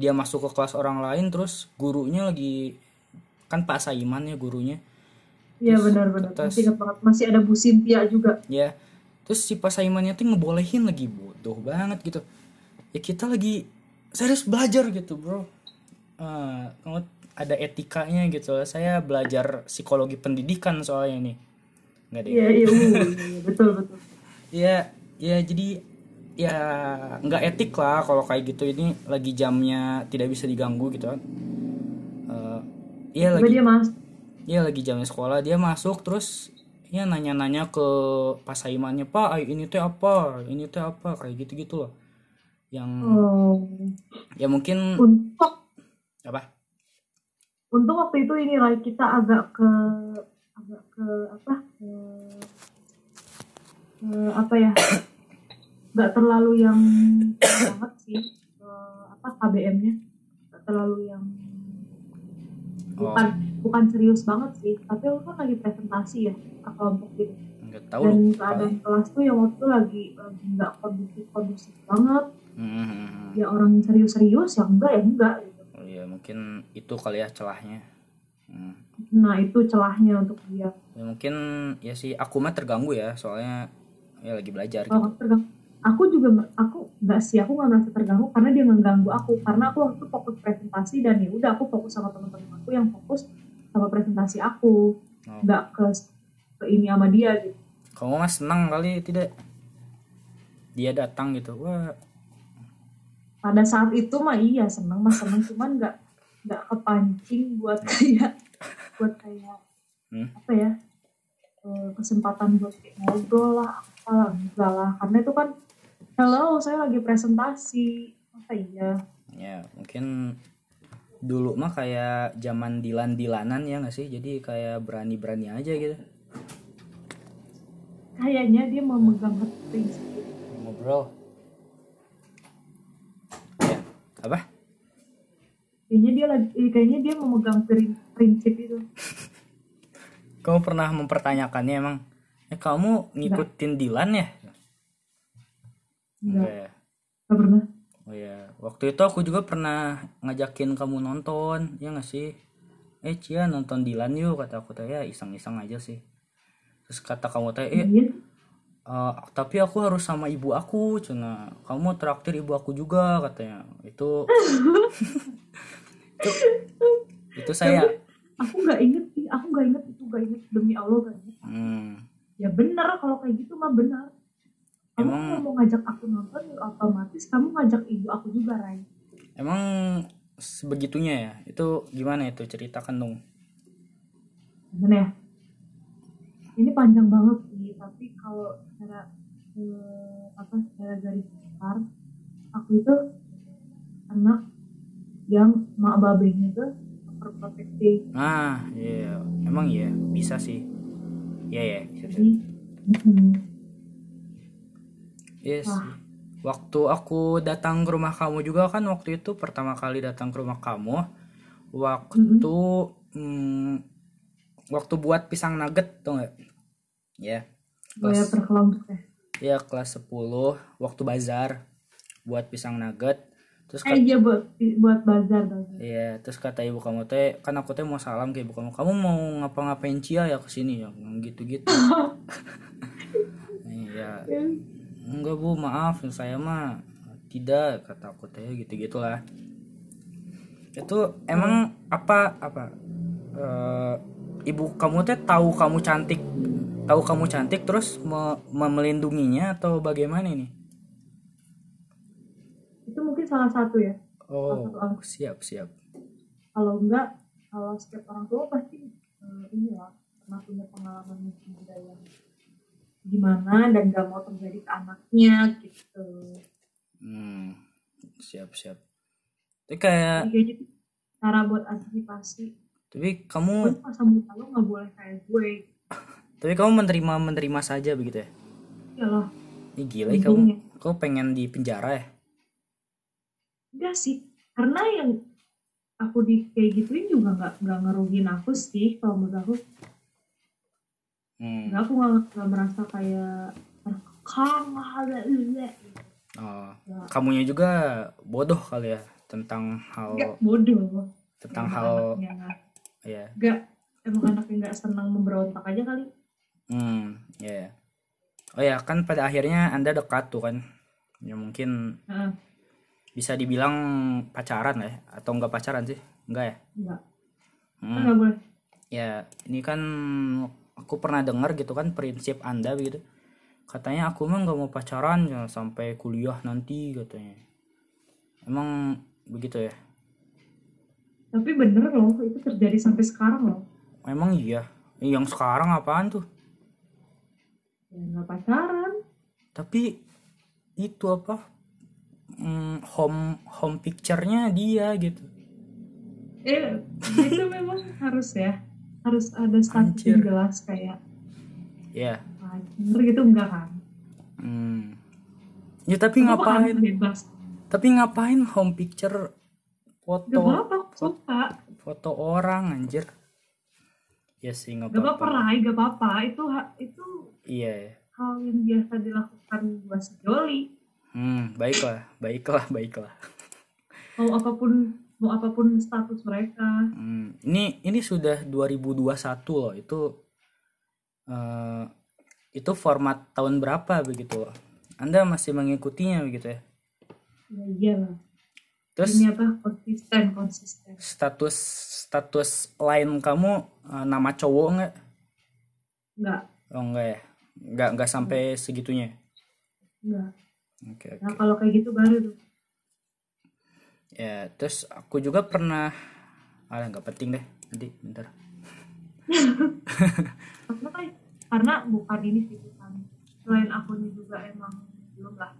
dia masuk ke kelas orang lain terus gurunya lagi kan Pak Saiman ya gurunya
iya
Terus
benar benar
kertas.
masih ingat banget masih ada Bu Sintia juga
ya terus si Pak Saimannya tuh ngebolehin lagi bodoh banget gitu ya kita lagi serius belajar gitu bro Eh, kamu ada etikanya gitu saya belajar psikologi pendidikan soalnya nih nggak deh
iya iya uh, iya, betul betul
Iya, ya jadi ya nggak etik lah kalau kayak gitu ini lagi jamnya tidak bisa diganggu gitu kan. Eh, Iya
Tiba
lagi
dia mas
Iya lagi jamnya sekolah dia masuk terus ya nanya-nanya ke Pak Saimannya, "Pak, ay, ini tuh apa? Ini tuh apa?" kayak gitu-gitu loh. Yang
oh
ya mungkin
untuk
apa?
untung waktu itu ini lah kita agak ke agak ke apa ke, ke apa ya nggak terlalu yang banget sih ke, apa KBM-nya nggak terlalu yang
Oh,
bukan bukan serius banget sih tapi lu kan lagi presentasi ya ke kelompok gitu
nggak tahu
dan
lupa.
keadaan kelas tuh yang waktu itu lagi lagi nggak kondusif kondusif banget
Hmm,
ya orang serius-serius ya enggak ya enggak gitu
oh ya mungkin itu kali ya celahnya Hmm.
nah itu celahnya untuk dia
ya mungkin ya sih aku mah terganggu ya soalnya ya lagi belajar gitu
kalau aku terganggu aku juga mer- aku nggak sih aku nggak merasa terganggu karena dia mengganggu aku karena aku waktu itu fokus presentasi dan ya udah aku fokus sama teman-teman aku yang fokus sama presentasi aku
Oh.
nggak ke, ke ini sama dia gitu
kamu mah senang kali tidak dia datang gitu wah
pada saat itu mah iya seneng mah seneng cuman nggak nggak kepancing buat kayak buat kayak
Hmm.
apa ya eh, kesempatan buat kayak ngobrol lah apalah enggak lah karena itu kan hello saya lagi presentasi masa iya
ya mungkin dulu mah kayak zaman dilan dilanan ya nggak sih jadi kayak berani berani aja gitu
kayaknya dia mau megang hati sendiri.
ngobrol ya apa
kayaknya dia lagi eh, kayaknya dia mau megang prin- prinsip itu
kamu pernah mempertanyakannya emang ya kamu ngikutin Dilan ya
enggak
ya
enggak pernah
oh ya waktu itu aku juga pernah ngajakin kamu nonton ya nggak sih eh Cia nonton Dilan yuk kata aku teh ya iseng-iseng aja sih terus kata kamu teh eh
Iya.
Eh, tapi aku harus sama ibu aku cina kamu traktir ibu aku juga katanya itu itu, itu saya
aku nggak inget sih aku nggak inget itu nggak inget demi allah nggak inget
hmm,
ya bener kalau kayak gitu mah bener kamu
Emang-
kalau mau ngajak aku nonton ya otomatis kamu ngajak ibu aku juga Rai
emang sebegitunya ya itu gimana itu ceritakan dong
gimana ya ini panjang banget sih Iya, tapi kalau secara eh, apa secara garis besar aku itu anak yang mak babenya tuh overprotective
nah iya emang iya bisa sih iya iya bisa, bisa.
jadi mm,
Yes. Waktu aku datang ke rumah kamu juga kan waktu itu pertama kali datang ke rumah kamu waktu mm, waktu buat pisang nugget tuh nggak? Ya.
gaya
Kelas
berkelompok ya
ya kelas 10 waktu bazar buat pisang nugget. Terus
eh
kata,
iya buat buat bazar bazar
ya, terus kata ibu kamu teh kan aku teh mau salam ke ibu kamu. Kamu mau ngapa-ngapain Cia ya ke sini ya gitu-gitu. Iya. enggak bu maaf saya mah tidak kata aku teh gitu gitulah itu emang apa apa eh, ibu kamu teh tahu kamu cantik tahu kamu cantik terus me- me- melindunginya atau bagaimana ini
itu mungkin salah satu ya
oh siap siap
kalau enggak kalau setiap orang tua pasti eh, ini lah pernah punya pengalaman muda yang gimana dan gak mau terjadi ke anaknya gitu
hmm, siap siap tapi
Jadi
kayak
kayak gitu cara buat antisipasi
tapi
gue
kamu
pas sama lo nggak boleh kayak gue
tapi kamu menerima menerima saja begitu ya
ya loh
ini gila ya, kamu
Iya.
kamu pengen di penjara ya
enggak sih karena yang aku di kayak gituin juga nggak nggak ngerugiin aku sih kalau menurut aku
hmm.
nggak aku nggak nggak merasa kayak terkekang lah lah, lah.
Oh,
Ya.
kamunya juga bodoh kali ya tentang
enggak
hal
bodoh
tentang
Emang
hal
anaknya nggak-
ya.
nggak emang anaknya nggak senang memberontak aja kali
Hmm, ya. Oh ya, kan pada akhirnya Anda dekat tuh kan. Ya mungkin
Heeh,
bisa dibilang pacaran lah ya atau enggak pacaran sih? Enggak ya?
enggak
Hmm.
kan nggak boleh
Ya, ini kan aku pernah dengar gitu kan prinsip Anda gitu. Katanya aku mah nggak mau pacaran ya, sampai kuliah nanti katanya. Emang begitu ya?
tapi bener loh itu terjadi sampai sekarang loh
Emang iya. Yang sekarang apaan tuh?
ya nggak pacaran
tapi itu apa mm, home home picture-nya dia gitu
eh itu memang harus ya harus ada status
Hmm. Anjir.
yang jelas kayak
ya
pacar gitu enggak kan
hmm. ya tapi
Aku bakalan
ngapain
bebas
tapi ngapain home picture
nggak
foto
apa-apa aku suka
foto foto orang anjir ya sih nggak
Gak apa-apa
apa-apa
lah, gak apa-apa. Itu ha- itu
iya
hal yang biasa dilakukan buat si Joli.
hmm baiklah baiklah baiklah
Mau apapun mau apapun status mereka.
Hmm, ini ini sudah 2021 loh itu eh, itu format tahun berapa begitu loh Anda masih mengikutinya begitu ya
Ya iyalah.
terus
Ini apa konsisten konsisten.
status status lain kamu eh, nama cowok nggak
Enggak,
oh nggak ya nggak nggak sampai segitunya
enggak.
oke oke
Nah, kalau kayak gitu baru tuh.
ya terus aku juga pernah ah nggak penting deh nanti bentar
Karena kan- karena bukan ini sih bukan. Selain akunnya juga emang belum lah.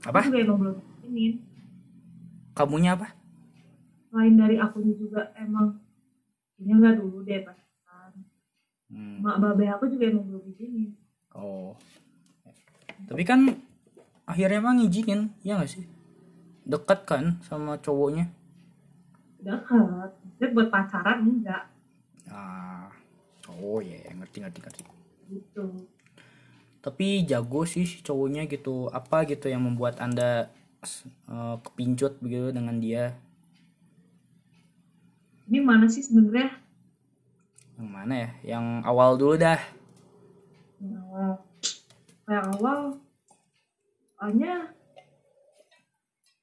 apa
Aku juga emang belum ingin.
kamunya apa
Selain dari akunnya juga emang ini enggak dulu deh pastikan.
Hmm,
Mak babe aku juga emang belum izinin.
oh tapi kan akhirnya emang ngizinin ya nggak sih dekat kan sama cowoknya
Dekat. Dekat buat pacaran enggak
ah oh ya ya, ngerti ngerti ngerti
gitu.
tapi jago sih si cowoknya gitu apa gitu yang membuat anda eh, kepincut begitu dengan dia
Ini mana sih sebenarnya
yang mana ya yang awal dulu dah
yang awal? Nah, Kayak awal, soalnya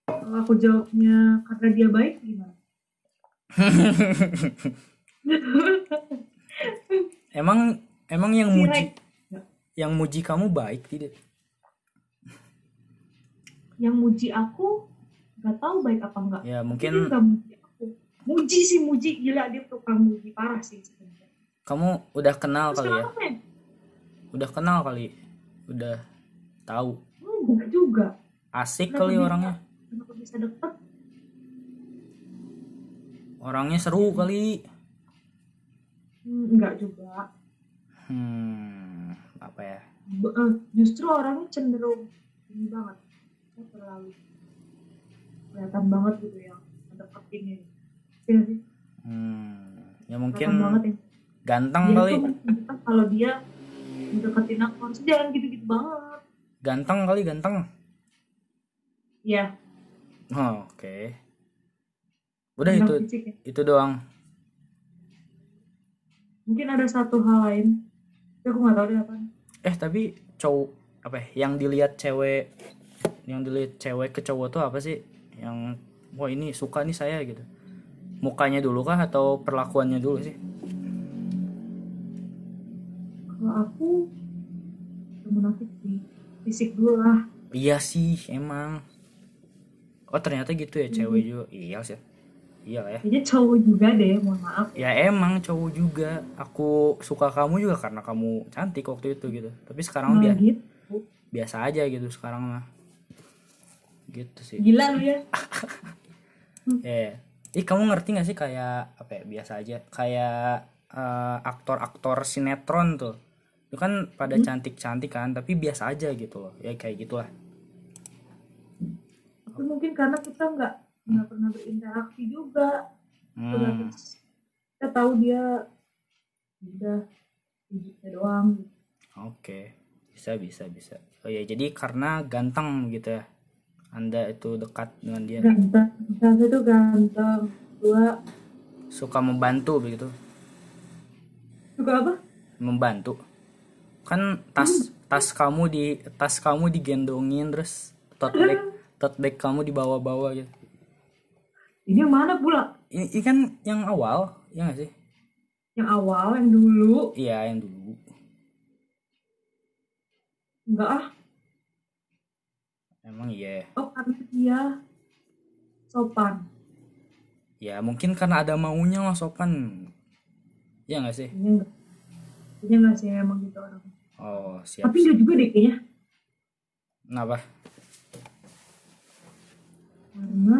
kalau aku jawabnya karena dia baik gimana?
emang emang yang
Si
muji
Rek,
yang muji kamu baik tidak
yang muji aku nggak tahu baik apa enggak.
ya
Dia
mungkin
nggak muji aku. Muji sih muji gila dia tukang muji parah sih sebenarnya.
kamu udah kenal
Terus
kali ya
kenapa Ren?
udah kenal kali udah tahu
Enggak Hmm, juga.
asik
Kenapa
kali
bisa-
orangnya
Kenapa bisa deket?
orangnya seru kali
Hmm, enggak juga.
hmm apa ya
B- eh, justru orangnya cenderung ini banget Dia terlalu kelihatan banget gitu ya deketinnya Iya nggak sih?
hmm ya
kelihatan
mungkin
banget ya
ganteng
dia
kali
itu menunjukkan kalau dia deketin aku harus jangan gitu-gitu banget
ganteng kali ganteng
ya
oh, oke udah itu
tentang fisik ya.
itu doang
mungkin ada satu hal lain tapi aku nggak tahu deh apa
eh tapi cowok apa ya, yang dilihat cewek yang dilihat cewek ke cowok tuh apa sih yang wah ini suka nih saya gitu mukanya dulu kah atau perlakuannya dulu sih
kalau aku yang munafik sih fisik dulu lah
iya sih emang oh ternyata gitu ya cewek juga iya sih iya lah ya
kayaknya cowok juga deh mohon maaf
ya emang cowok juga aku suka kamu juga karena kamu cantik waktu itu gitu tapi sekarang bia-
Malah gitu
biasa aja gitu sekarang mah gitu sih
gila lu ya
Eh, ih kamu ngerti gak sih kayak apa ya biasa aja kayak eh, aktor-aktor sinetron tuh itu kan pada cantik-cantik kan tapi biasa aja gitu loh ya kayak gitulah
itu mungkin karena kita nggak nggak pernah berinteraksi juga
hmm,
kita tahu dia udah fisiknya doang
oke bisa bisa bisa oh ya jadi karena ganteng gitu ya anda itu dekat dengan dia
ganteng satu tuh ganteng dua
suka membantu begitu
juga apa
membantu kan tas tas kamu di tas kamu digendongin terus tote bag tote bag kamu dibawa-bawa gitu
ini yang mana pula
I- Ini kan yang awal, ya gak sih?
yang awal yang dulu
Iya, yang dulu.
enggak ah
Emang iya.
oh karena dia sopan
Ya mungkin karena ada maunya lah sopan. Ya gak sih?
ini enggak ini enggak sih emang gitu orang
Oh, siap.
tapi dia juga deh kayaknya
Kenapa?
karena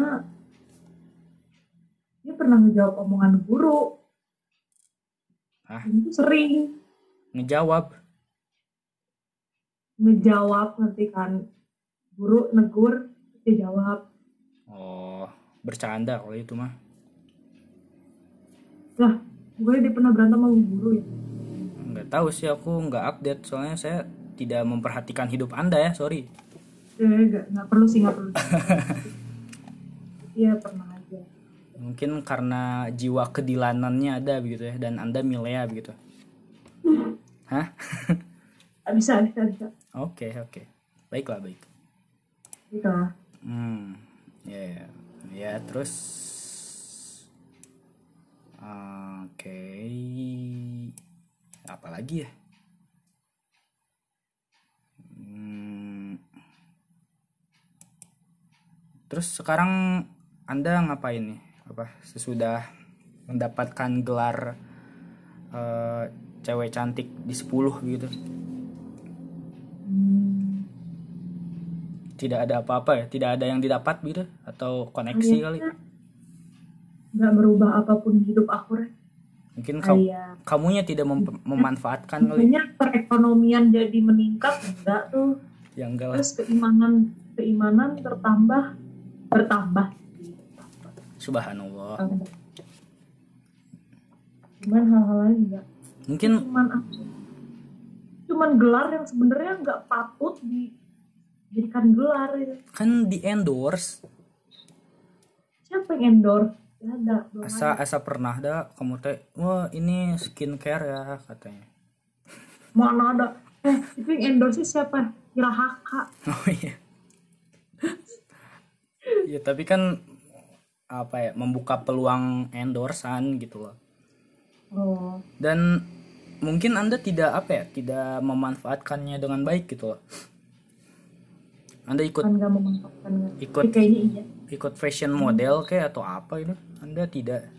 dia pernah ngejawab omongan guru
Hah?
Dan itu sering
Ngejawab.
ngejawab nanti kan guru negur dia jawab
Oh, bercanda kalau itu mah.
Lah, gue dia pernah berantem sama guru ya.
nggak tahu sih aku nggak update soalnya saya tidak memperhatikan hidup anda ya sorry
Eh, gak, gak perlu sih, gak perlu. Iya, pernah aja.
mungkin karena jiwa kedilanannya ada begitu ya dan anda milea begitu hah
Ah, Bisa, bisa, bisa.
oke oke baiklah baik
Gitu lah.
hmm ya ya. ya terus Ah, oke apa lagi ya Hmm. Terus sekarang Anda ngapain nih? Apa sesudah mendapatkan gelar eh, cewek cantik di 10 gitu?
Hmm.
Tidak ada apa-apa ya? Tidak ada yang didapat gitu atau koneksi kali?
Kayaknya Gak merubah apapun hidup aku, Ren.
Mungkin
Oh,
kau
Kayak,
kamunya tidak mem- memanfaatkan kali
kayaknya perekonomian jadi meningkat, enggak tuh.
yang Ya enggak lah.
terus keimanan keimanan bertambah bertambah
Subhanallah.
cuman hal-hal lain enggak
Mungkin
cuman apa cuman gelar yang sebenarnya nggak patut dijadikan gelar ya.
kan di endorse
siapa yang endorse Nggak ada belum
asa
ada.
asa pernah dah kamu teh wah ini skincare ya katanya
mana ada eh itu yang endorse siapa Hirahaka
Oh iya. ya tapi kan apa ya membuka peluang endorsan gitu loh.
oh
Dan mungkin Anda tidak apa ya, tidak memanfaatkannya dengan baik gitu loh. Anda ikut
kan nggak memanfaatkan kan
Ikut.
Tapi kayaknya iya
ikut fashion model kayak atau apa itu? Anda tidak.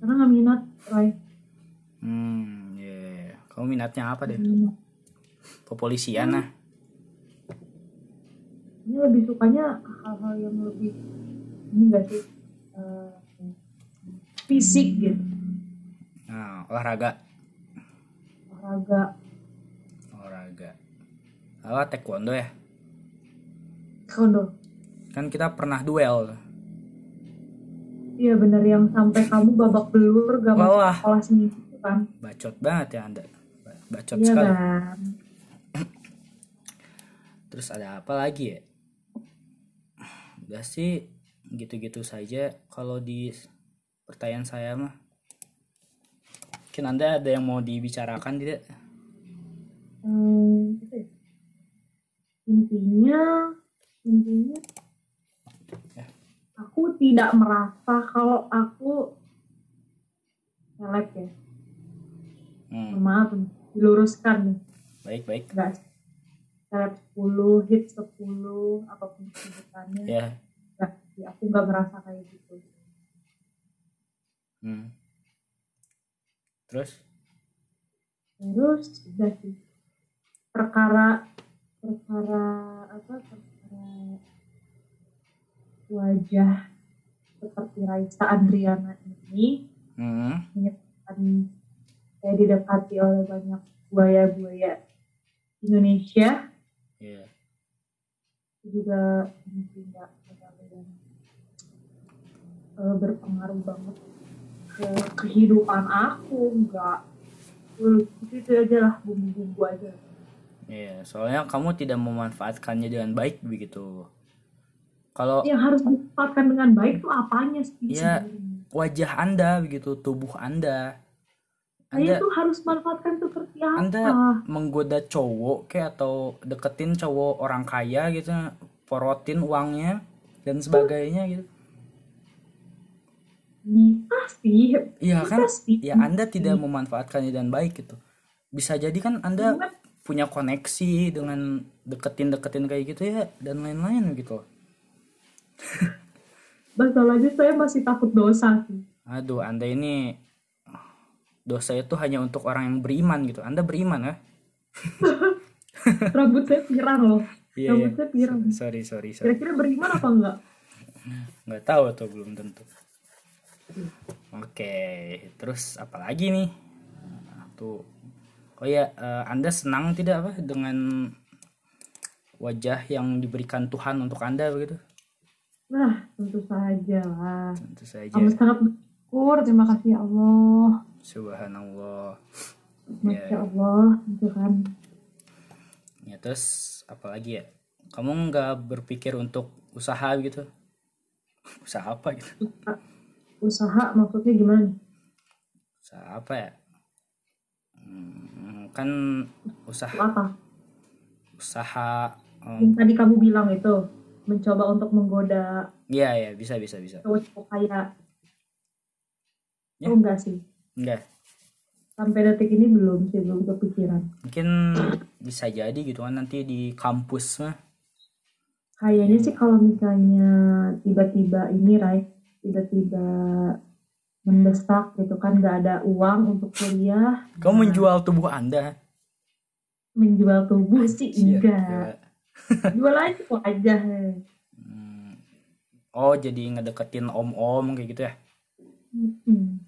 karena nggak minat Rai
Hmm, ya. ya, ya. Kamu minatnya apa deh?
Nggak minat.
Kepolisian nah.
ini lebih sukanya hal-hal yang lebih ini gak sih eh, fisik gitu
Nah, olahraga,
olahraga
olahraga. Apa taekwondo ya?
kondo
Kan kita pernah duel.
iya bener yang sampai kamu babak belur gak masuk
Walah.
sekolah seminggu itu kan
Bacot banget ya Anda. Ba- Bacot
iya
sekali.
kan
Terus ada apa lagi ya? Udah sih gitu-gitu saja kalau di pertanyaan saya mah. Mungkin Anda ada yang mau dibicarakan tidak?
hmm, gitu ya. intinya intinya
Ya.
aku tidak merasa kalau aku seleb ya
Hmm,
maaf nih, diluruskan nih
baik-baik.
enggak seleb 10 hit 10 apapun sebutannya
Ya.
enggak sih, aku nggak merasa kayak gitu
Hmm. Terus
terus udah sih perkara perkara apa perkara wajah seperti Raisa Andriana ini
hmm.
menyebabkan saya didekati oleh banyak buaya-buaya Indonesia
Ya.
juga mungkin nggak terlalu yang, eh, berpengaruh banget ke kehidupan aku nggak itu itu aja lah bumbu-bumbu aja
Ya, soalnya kamu tidak memanfaatkannya dengan baik begitu. Kalau
yang harus dimanfaatkan dengan baik tuh apanya sih
Iya.
sebenarnya?
wajah Anda begitu, tubuh Anda Anda
saya tuh harus manfaatkan seperti apa
Anda
ah.
menggoda cowok kayak atau deketin cowok orang kaya gitu, porotin uangnya dan sebagainya gitu.
bisa sih
Iya kan?
bisa sih
Ya Anda tidak memanfaatkannya dengan baik gitu. Bisa jadi kan Anda
Cuman
punya koneksi dengan deketin-deketin kayak gitu ya dan lain-lain gitu.
masalahnya saya masih takut dosa sih
Aduh, Anda ini dosa itu hanya untuk orang yang beriman gitu. Anda beriman ya?
rambut saya pirang loh
Iya,
rambut
iya.
saya pirang
Sorry, sorry, sorry.
kira-kira beriman apa enggak
nggak tahu atau belum tentu oke terus apa lagi nih Nah, tuh oh ya eh, anda senang tidak apa dengan wajah yang diberikan Tuhan untuk anda begitu
Nah, tentu saja lah.
tentu saja
Kami sangat bersyukur. Terima kasih ya Allah.
subhanallah
Masya
Ya.
Allah, gitu kan.
ya terus apalagi ya kamu nggak berpikir untuk usaha gitu usaha apa gitu
Usaha maksudnya gimana?
usaha apa ya Hmm, kan usaha
Apa?
usaha oh,
Yang
em,
tadi kamu bilang itu, mencoba untuk menggoda
iya ya bisa bisa bisa
cowok-cowok kaya.
Ya.
Oh enggak sih.
enggak
Sampai detik ini belum sih, belum kepikiran.
mungkin bisa jadi gitu kan nanti di kampus mah
Kayaknya sih kalau misalnya tiba-tiba ini, Rai, tiba-tiba mendesak gitu kan, nggak ada uang untuk kuliah,
kamu menjual tubuh anda
menjual tubuh sih
Siap,
enggak.
ya.
Jual aja wajah. eh.
Hmm. oh jadi ngedeketin om om kayak gitu ya
Mm-mm.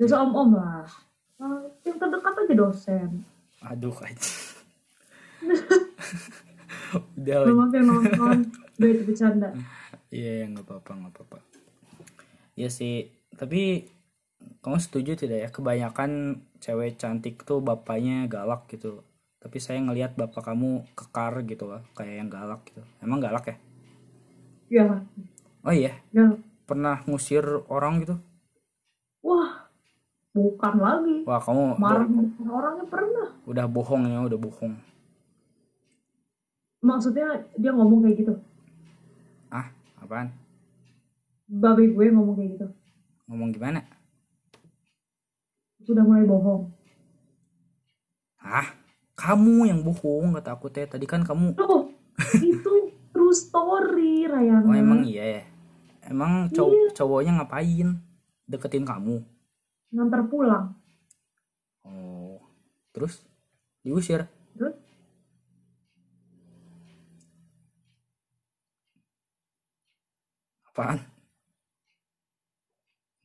Dosa om-om lah. Ah, yang terdekat aja dosen.
aduh aja udah lah.
Mama kayak nonton, udah itu bercanda.
Iya, ya, nggak apa-apa, nggak apa-apa. Iya sih, tapi kamu setuju tidak ya? Kebanyakan cewek cantik tuh bapaknya galak gitu. Tapi saya ngelihat bapak kamu kekar gitu lah, kayak yang galak gitu. Emang galak ya?
Ya,
Oh iya,
ya.
pernah ngusir orang gitu?
Wah, bukan lagi.
Wah, kamu
Marah orangnya pernah.
udah bohong ya, udah bohong.
Maksudnya dia ngomong kayak gitu.
Ah, apaan?
Babe gue ngomong kayak gitu.
Ngomong gimana?
Sudah mulai bohong.
Ah, kamu yang bohong kata aku teh. Tadi kan kamu,
Loh, itu true story, Rayana.
oh emang iya ya? Emang cow- cowoknya ngapain? Deketin kamu?
Nganter pulang.
Oh, terus diusir?
Terus?
Apaan?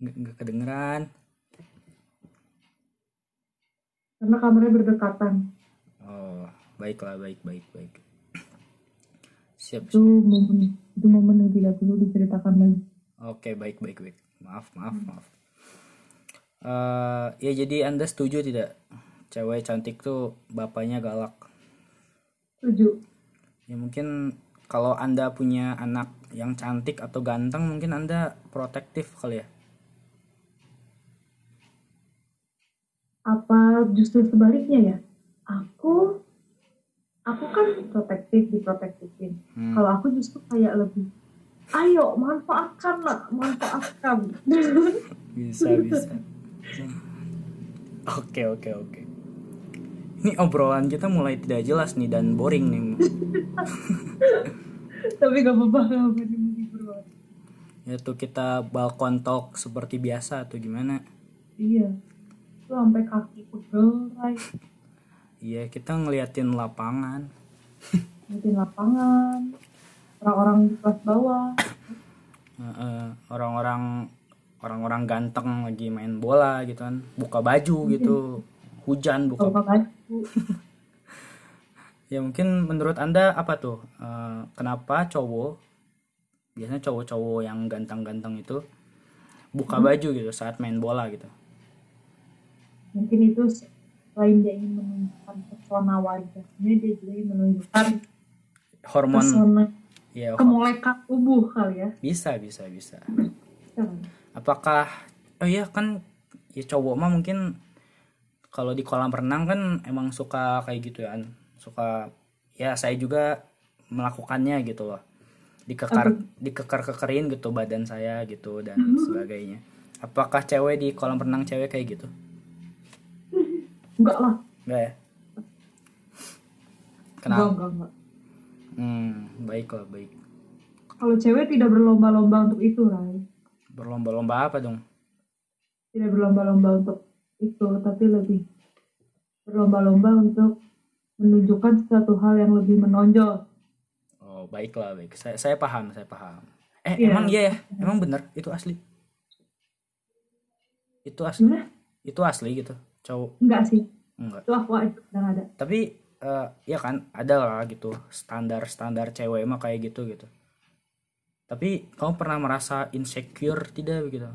Nggak, nggak kedengeran.
Karena kamarnya berdekatan.
Oh, baiklah, baik, baik, baik. Siap.
Itu
siap.
momen, itu momen yang tidak perlu diceritakan lagi.
Oke, baik, baik, baik. Maaf, maaf, maaf. Eh, ya jadi Anda setuju tidak? Cewek cantik tuh bapaknya galak.
Setuju.
Ya mungkin kalau Anda punya anak yang cantik atau ganteng mungkin Anda protektif kali ya.
Apa justru sebaliknya ya? Aku, aku kan protektif, diprotektifin.
Hmm.
kalau aku justru kayak lebih ayo manfaatkan lah manfaatkan
bisa bisa oke oke oke ini obrolan kita mulai tidak jelas nih dan boring nih
tapi gak apa-apa gak apa-apa ini bro
yaitu kita balkon talk seperti biasa atau gimana
iya itu sampai kaki pegel Rai.
iya kita ngeliatin lapangan
ngeliatin lapangan orang-orang di kelas bawah
Eh, eh, orang-orang orang-orang ganteng lagi main bola gitu kan buka baju gitu hujan buka
buka baju
ya mungkin menurut anda apa tuh Eh, kenapa cowok biasanya cowok-cowok yang ganteng-ganteng itu buka baju gitu saat main bola gitu
mungkin itu selain dia ingin menunjukkan pesona wajahnya dia juga ingin menunjukkan
hormon
pesona
ya ho-
kemolekan tubuh kali ya
bisa bisa bisa
Kan?
apakah oh iya kan ya cowok mah mungkin kalau di kolam renang kan emang suka kayak gitu ya An. suka ya saya juga melakukannya gitu loh dikekar dikekar kekerin gitu badan saya gitu dan sebagainya apakah cewek di kolam renang cewek kayak gitu
enggak lah
enggak ya
enggak
kenapa
enggak enggak
hmm baiklah baik
kalau cewek tidak berlomba-lomba untuk itu Rai
berlomba-lomba apa dong
tidak berlomba-lomba untuk itu tapi lebih berlomba-lomba untuk menunjukkan sesuatu hal yang lebih menonjol
Oh, baiklah, baik. Saya saya paham, saya paham. Eh,
Iya.
emang iya ya? Emang bener? Itu asli. Itu asli.
sebenarnya
Itu asli gitu. Cowok
enggak sih
enggak.
itu aku aja yang ada
Tapi iya eh, ya kan ada lah gitu standar-standar cewek mah kayak gitu gitu. Tapi kamu pernah merasa insecure tidak begitu?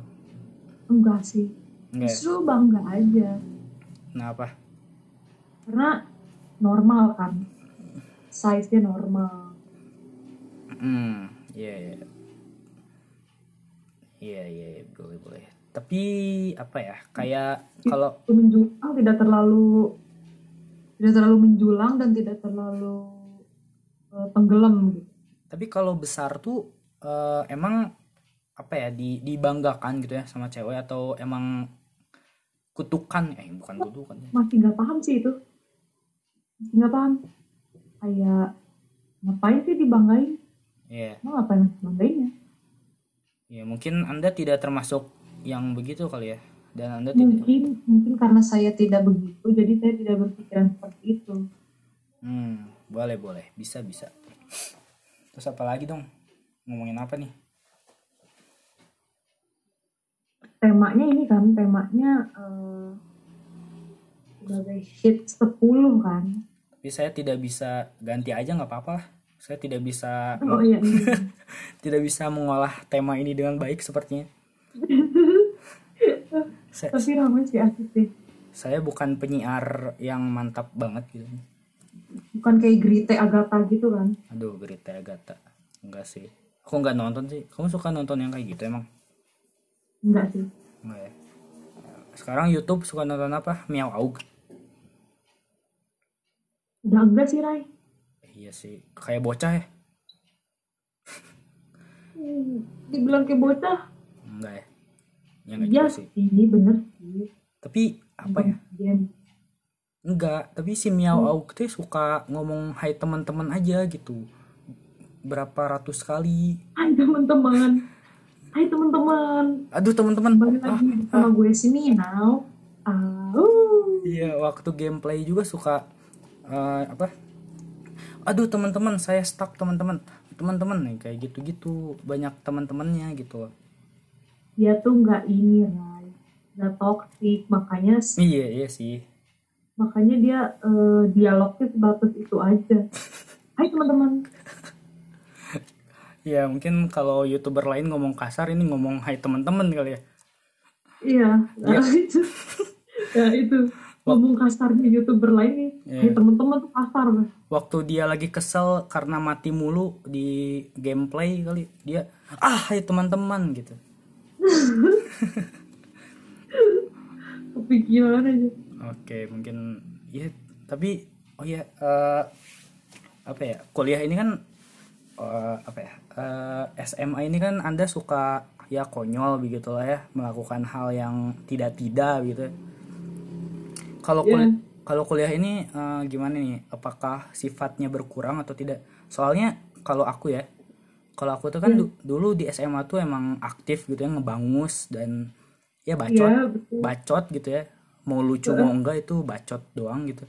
enggak sih
Enggak. Nah, ya?
justru bangga aja
Kenapa?
karena normal kan size nya normal
Hmm, iya iya. Iya iya iya, boleh boleh. Tapi apa ya? Kayak kalau
itu menjulang tidak terlalu tidak terlalu menjulang dan tidak terlalu eh, tenggelam gitu
tapi kalau besar tuh eh, emang apa ya di dibanggakan gitu ya sama cewek atau emang kutukan eh bukan kutukan ya.
masih nggak paham sih itu masih nggak paham kayak ngapain sih dibanggain
Iya,
mau ngapain dibanggainnya
ya mungkin Anda tidak termasuk yang begitu kali ya. Dan Anda tidak
mungkin mungkin karena saya tidak begitu jadi saya tidak berpikiran seperti itu
Hmm, boleh boleh, bisa bisa. Terus apa lagi dong? Ngomongin apa nih?
temanya ini kan temanya eh, sebagai hit 10 kan
Tapi saya tidak bisa ganti aja nggak apa-apa lah. Saya tidak bisa
oh iya iya.
tidak bisa mengolah tema ini dengan baik sepertinya. saya,
tapi ramai sih asik sih
saya bukan penyiar yang mantap banget gitu.
bukan kayak Grite Agatha gitu kan
Aduh, Grita Agatha. Enggak sih. Aku nggak nonton sih. Kamu suka nonton yang kayak gitu emang?
enggak sih
Enggak ya. Sekarang YouTube suka nonton apa? Miau Aug.
udah enggak sih Rai
Eh, iya sih. Kayak bocah ya?
Hmm, dibilang kayak bocah
Enggak ya. Yang enggak
iya
juga sih.
sih ini bener Iya. sih
Tapi apa ya?
Gen.
Enggak, tapi si
Hmm.
Miao Auk tuh suka ngomong hai teman-teman aja gitu. Berapa ratus kali.
hai teman-teman hai teman-teman
Aduh, teman-teman.
kembali
Ah,
lagi sama gue sini now Au.
Iya, waktu gameplay juga suka eh, apa? Aduh, teman-teman, saya stuck teman-teman. Teman-teman nih kayak gitu-gitu, banyak teman-temannya gitu. loh.
dia tuh nggak ini Rai nggak toksik makanya
Iya, iya sih.
makanya dia eh, dialognya sebatas itu aja hai teman-teman
Ya, mungkin kalau YouTuber lain ngomong kasar ini ngomong hai teman-teman kali ya.
iya nah, itu ya itu ngomong kasarnya youtuber lain nih
Iya.
"Hai, teman-teman tuh kasar Mas."
Waktu dia lagi kesel karena mati mulu di gameplay kali, dia ah hai teman-teman gitu.
kepikiran aja
Oke, mungkin ya tapi oh ya eh, apa ya? Kuliah ini kan eh, apa ya? eh, SMA ini kan Anda suka ya konyol begitu lah ya, melakukan hal yang tidak-tidak gitu. Kalau kul-
Iya.
kalau kuliah ini eh, gimana nih? Apakah sifatnya berkurang atau tidak? Soalnya kalau aku ya, kalau aku tuh kan
Iya.
du- dulu di SMA tuh emang aktif gitu ya, ngebangus dan ya bacot
iya betul
bacot gitu ya mau lucu mau enggak itu bacot doang gitu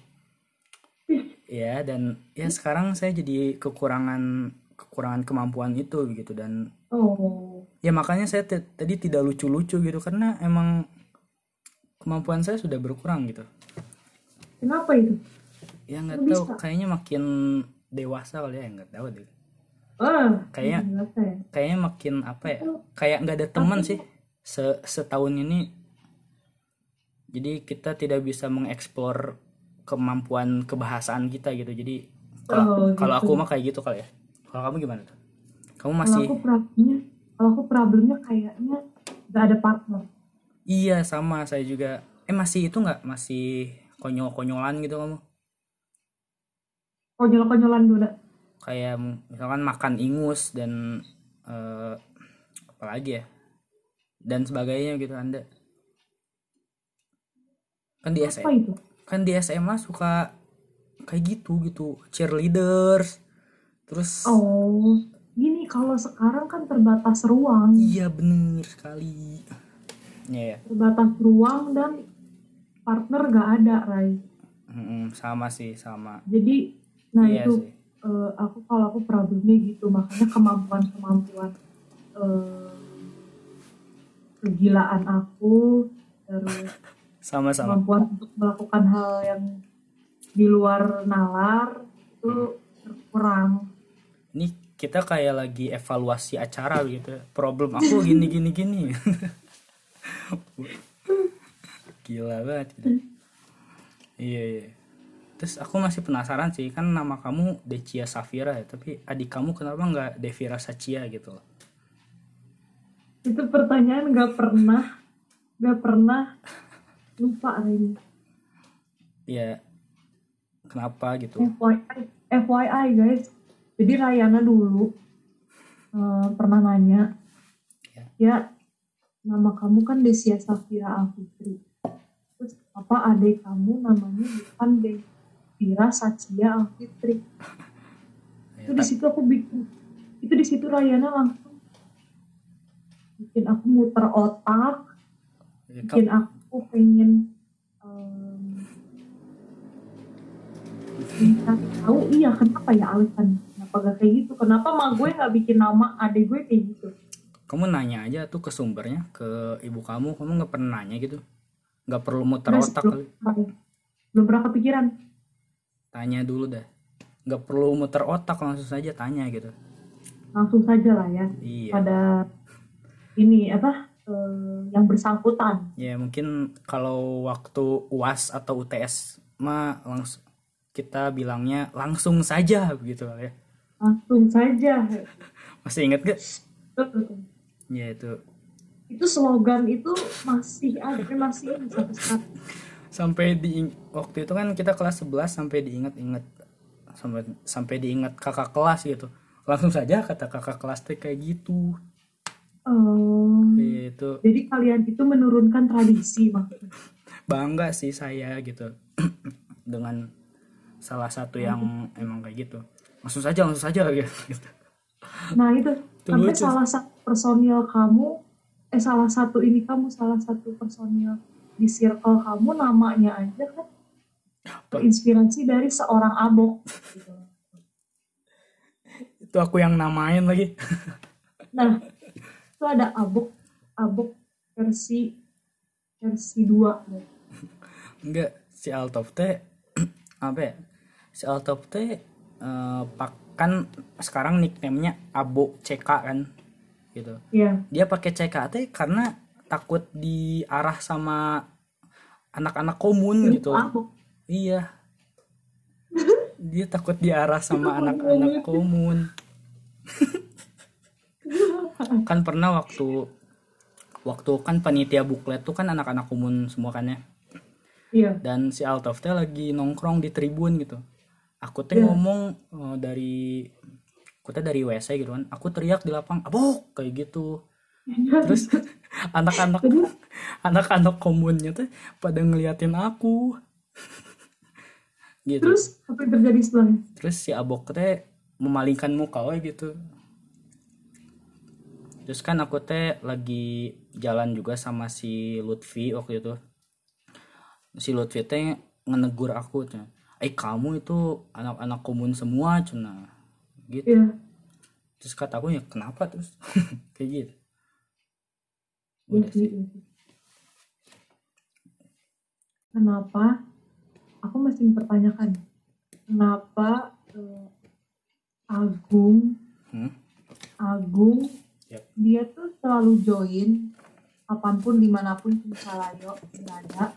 ya dan ya sekarang saya jadi kekurangan kekurangan kemampuan itu gitu dan
oh
ya makanya saya t- tadi tidak lucu-lucu gitu karena emang kemampuan saya sudah berkurang gitu
kenapa itu
ya nggak
Lu
tahu
bisa.
kayaknya makin dewasa kali ya nggak tahu deh
ah
Kayaknya-
kenapa ya
kayaknya makin apa ya kayak nggak ada teman sih Se- setahun ini jadi kita tidak bisa mengeksplor kemampuan kebahasaan kita gitu jadi
Oh,
kalau
gitu.
kalau aku mah kayak gitu kali ya kalau kamu gimana tuh kamu
kalau
masih
aku problemnya kalau aku problemnya kayaknya nggak ada partner
iya sama saya juga eh masih itu nggak masih konyol-konyolan gitu kamu
konyol-konyolan dulu
kayak misalkan makan ingus dan eh, apa lagi ya dan sebagainya gitu anda kan di
apa
SM
itu
kan di SMA suka kayak gitu gitu cheerleaders terus
oh gini kalau sekarang kan terbatas ruang
iya bener sekali Iya ya
terbatas ruang dan partner gak ada Rai
Mm-mm, sama sih sama
jadi nah
iya
itu
sih
eh, aku kalau aku problemnya gitu makanya kemampuan kemampuan eh, kegilaan aku terus
sama sama
kemampuan untuk melakukan hal yang di luar nalar itu kurang
ini kita kayak lagi evaluasi acara gitu problem aku gini gini gini gila banget gitu. iya iya terus aku masih penasaran sih kan nama kamu Decia Safira ya tapi adik kamu kenapa nggak Devira Sacia gitu loh
itu pertanyaan nggak pernah nggak pernah lupa lagi
ya kenapa gitu
Ya, FYI, FYI guys jadi Rayana dulu eh, pernah nanya
Ya.
ya nama kamu kan Desia Safira Alfitri terus apa adik kamu namanya bukan Desira Sacia Alfitri
Ya,
itu di situ aku bikin itu di situ Rayana langsung bikin aku muter otak
ya,
bikin
ka-
aku pengen em, mencari tahu iya kenapa ya alasan kenapa gak kayak gitu kenapa mah gue nggak bikin nama adik gue kayak gitu
kamu nanya aja tuh ke sumbernya ke ibu kamu kamu nggak pernah nanya gitu nggak perlu muter
Terus
otak kali.
belum, belum pernah kepikiran
tanya dulu dah nggak perlu muter otak langsung saja tanya gitu
langsung saja lah ya
iya
pada ini apa eh, yang bersangkutan
ya mungkin kalau waktu uas atau UTS mah langsung kita bilangnya langsung saja begitu kali ya
langsung saja
masih inget gak
Betul.
ya itu
itu slogan itu masih ada eh, masih ini sampai sekarang
sampai di waktu itu kan kita kelas 11 sampai diingat-ingat sampai sampai diingat kakak kelas gitu langsung saja kata kakak kelas teh kayak gitu
Em,
Ya, itu
jadi kalian itu menurunkan tradisi maksudnya
bangga sih saya gitu dengan salah satu yang emang kayak gitu langsung saja langsung saja gitu
nah itu
Itu
sampai
lucu.
salah satu personil kamu eh salah satu ini kamu salah satu personil di circle kamu namanya aja kan terinspirasi dari seorang abok gitu.
itu aku yang namain lagi
nah itu ada abok abok versi versi dua ya.
enggak si Altop teh apa ya si Altop teh eh, pak kan sekarang nicknamenya Abo CK kan gitu
Iya.
dia pakai CK teh karena takut diarah sama anak-anak komun gitu
abok
Iya. Dia takut diarah sama
Itu
anak-anak komun. kan pernah waktu waktu kan panitia buklet tuh kan anak-anak komun semua kan ya.
iya
Dan si Altov teh lagi nongkrong di tribun gitu. Aku teh
Iya.
ngomong eh, dari aku teh dari WC gitu kan. Aku teriak di lapang, "Abok!" kayak gitu. Terus anak-anak anak-anak komunnya tuh pada ngeliatin aku. gitu.
terus apa yang terjadi setelahnya
terus si abok teh memalingkan muka we gitu terus kan aku teh lagi jalan juga sama si Lutfi waktu itu si Lutfi teh ngenegur aku cina eh kamu itu anak-anak komun semua cina gitu
Iya.
terus kata aku ya kenapa terus kayak gitu
Iya
udah
sih,
sih
iya sih. Kenapa? Aku masih mempertanyakan. Kenapa eh, Agung,
Hmm?
Agung,
Yap.
dia tuh selalu join kapanpun dimanapun Cincalayo berada.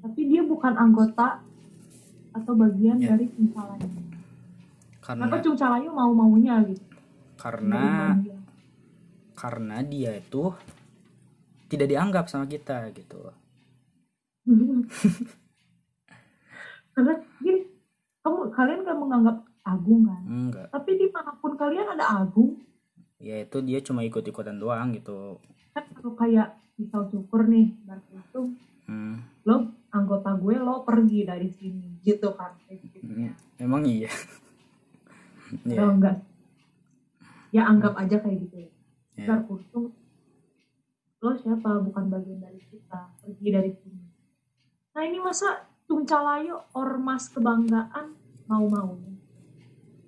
Tapi dia bukan anggota atau bagian
Ya.
dari Cincalayo. Kenapa
karena
Cincalayo mau maunya gitu?
Iya. karena
Menerima dia.
karena dia itu tidak dianggap sama kita gitu loh
karena gini kamu kalian gak menganggap Agung kan
enggak
tapi dimanapun kalian ada Agung
ya itu dia cuma ikut-ikutan doang gitu
kan kalau kayak misal syukur nih berarti itu
hmm.
lo anggota gue lo pergi dari sini gitu kan
Hmm. emang iya
ya.
ya
enggak ya anggap aja kayak gitu ya
ya.
Ntar kusum, lo siapa bukan bagian dari kita pergi dari sini nah ini masa Tuncalayo ormas kebanggaan mau maunya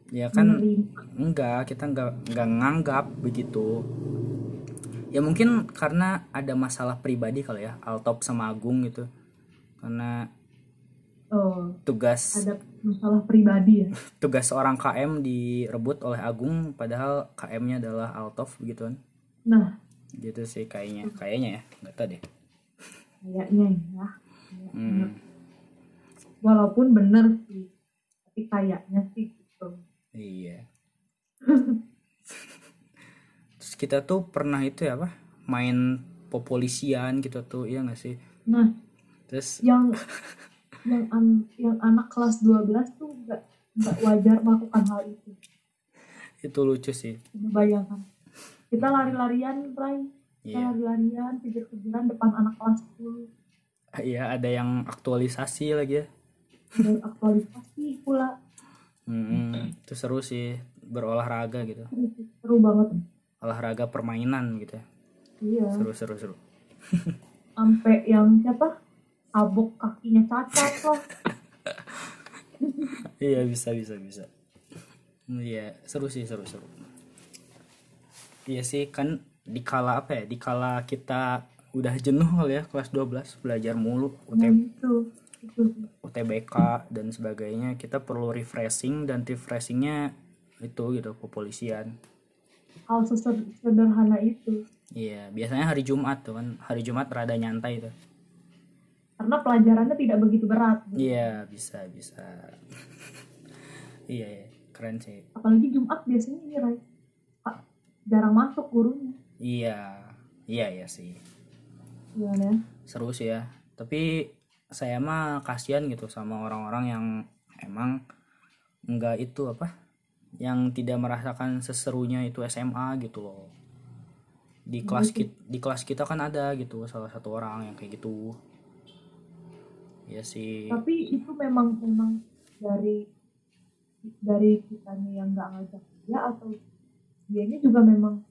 Ya kan
menerima
enggak kita enggak enggak nganggap begitu ya mungkin karena ada masalah pribadi kali ya Altop sama Agung gitu karena
eh,
tugas
ada masalah pribadi ya
Tugas seorang KM direbut oleh Agung padahal KM-nya adalah Altov begitu kan.
nah
Gitu sih kayaknya. Kayaknya ya, enggak tahu deh.
kayaknya ya
Hmm.
walaupun bener sih tapi kayaknya sih gitu
Iya. Terus kita tuh pernah itu ya apa? Main popolisian gitu tuh, iya gak sih?
nah
Terus
yang yang an- yang anak kelas 12 tuh nggak nggak wajar melakukan hal itu
itu lucu sih.
Coba bayangkan kita lari-larian Bray kita
Iya.
lari-larian kejar-kejaran depan anak kelas 10
Iya, ada yang aktualisasi lagi ya.
dan aktualisasi pula
Mm-mm. Itu seru sih berolahraga gitu.
seru banget
Olahraga permainan gitu ya.
iya
Seru seru seru.
sampai yang siapa sabuk kakinya cacat lah
Iya, bisa bisa bisa. Iya, seru sih seru seru. Iya sih kan dikala apa ya? Dikala kita udah jenuh kali ya kelas 12 belajar mulu
nah
UTB
itu itu sih.
UTBK dan sebagainya kita perlu refreshing dan refreshingnya itu gitu kepolisian
hal seseder- sederhana itu
iya biasanya hari Jumat tuh kan hari Jumat rada nyantai tuh
karena pelajarannya tidak begitu berat
iya bisa bisa iya iya, keren sih
apalagi Jumat biasanya ini Ray Pak, jarang masuk gurunya
iya iya iya sih
gimana ya?
seru sih ya tapi saya mah kasihan gitu sama orang-orang yang emang nggak itu apa yang tidak merasakan seserunya itu SMA gitu loh di kelas kita di kelas kita kan ada gitu salah satu orang yang kayak gitu ya sih
tapi itu memang memang dari dari kitanya yang nggak ngajak dia atau dianya juga memang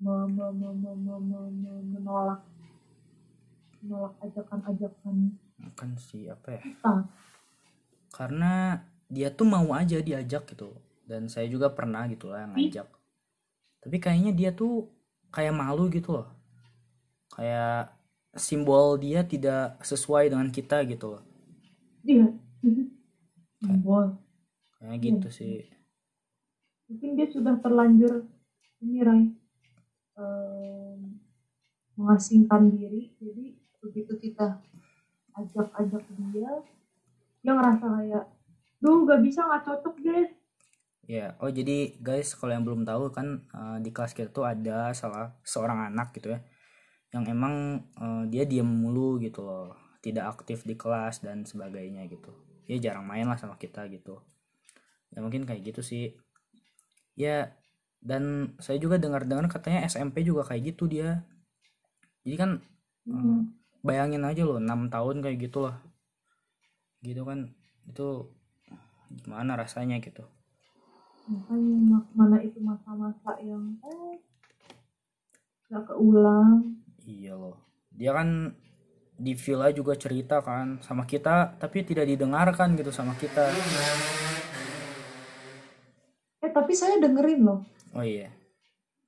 me- me- me- me- me- me- me- menolak menolak ajakan-ajakan
kan sih apa ya
kita
karena dia tuh mau aja diajak gitu dan saya juga pernah gitu lah yang ngajak tapi kayaknya dia tuh kayak malu gitu loh kayak simbol dia tidak sesuai dengan kita gitu loh
dia simbol
kayak gitu sih
mungkin dia sudah terlanjur ini Ray em, mengasingkan diri jadi begitu kita ajak-ajak dia dia ngerasa kayak duh gak bisa nggak cocok deh
ya oh jadi guys kalau yang belum tahu kan eh, di kelas kita tuh ada salah seorang anak gitu ya yang emang eh, dia diam mulu gitu loh tidak aktif di kelas dan sebagainya gitu dia jarang main lah sama kita gitu ya mungkin kayak gitu sih ya dan saya juga dengar-dengar katanya SMP juga kayak gitu dia jadi kan
Hmm.
bayangin aja loh 6 tahun kayak gitu loh gitu kan itu gimana rasanya gitu
makanya ma- mana itu masa-masa yang eh gak keulang
Iya loh. Dia kan di villa juga cerita kan sama kita tapi tidak didengarkan gitu sama kita.
eh tapi saya dengerin loh
Oh iya.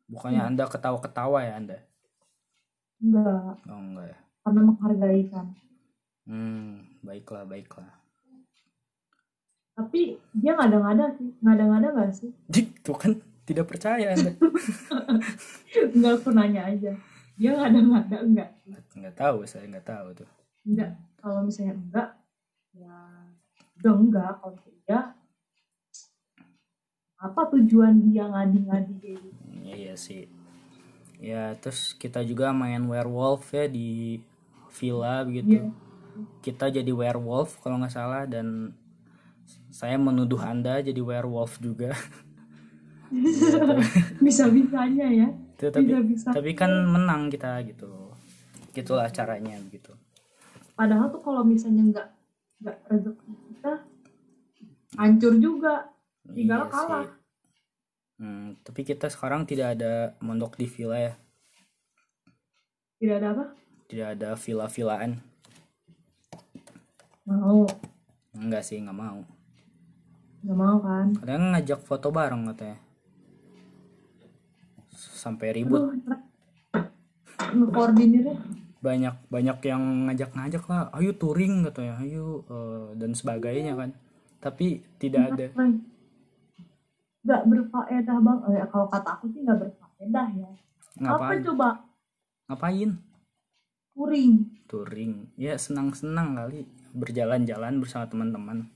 Bukannya Anda ketawa-ketawa ya Anda?
enggak
Oh enggak ya.
karena menghargai kan
Hmm, baiklah, baiklah.
tapi dia ngada-ngada sih ngada-ngada gak sih
Dik, tuh kan tidak percaya Anda.
enggak aku nanya aja dia ngada-ngada enggak sih
Enggak tahu, saya enggak tahu tuh.
enggak kalau misalnya enggak ya udah enggak kalau misalnya iya, apa tujuan dia ngadi-ngadi kayak gitu
Iya, iya sih. Ya, terus kita juga main werewolf ya di villa begitu.
Iya.
Kita jadi werewolf kalau nggak salah dan saya menuduh Anda jadi werewolf juga. Iya, tapi-
bisa-bisanya ya
itu tapi
Bisa-bisa.
tapi kan menang kita gitu. Gitulah caranya begitu.
padahal tuh kalau misalnya nggak nggak rezeki kita hancur juga
Iya
Tinggal
sih.
kalah.
Hmm, tapi kita sekarang tidak ada mondok di villa ya.
tidak ada apa
Tidak ada villa-villaan.
mau
Enggak sih, nggak mau.
nggak mau kan
Kadang ngajak foto bareng katanya. S- Sampai ribut.
aduh koordinirnya
banyak banyak yang ngajak-ngajak lah ayo touring katanya ayo eh, dan sebagainya kan tapi
Nah,
tidak ada
nggak berfaedah bang eh, kalau kata aku sih nggak berfaedah ya
ngapain
apa coba
ngapain
touring
touring ya senang senang kali berjalan-jalan bersama teman-teman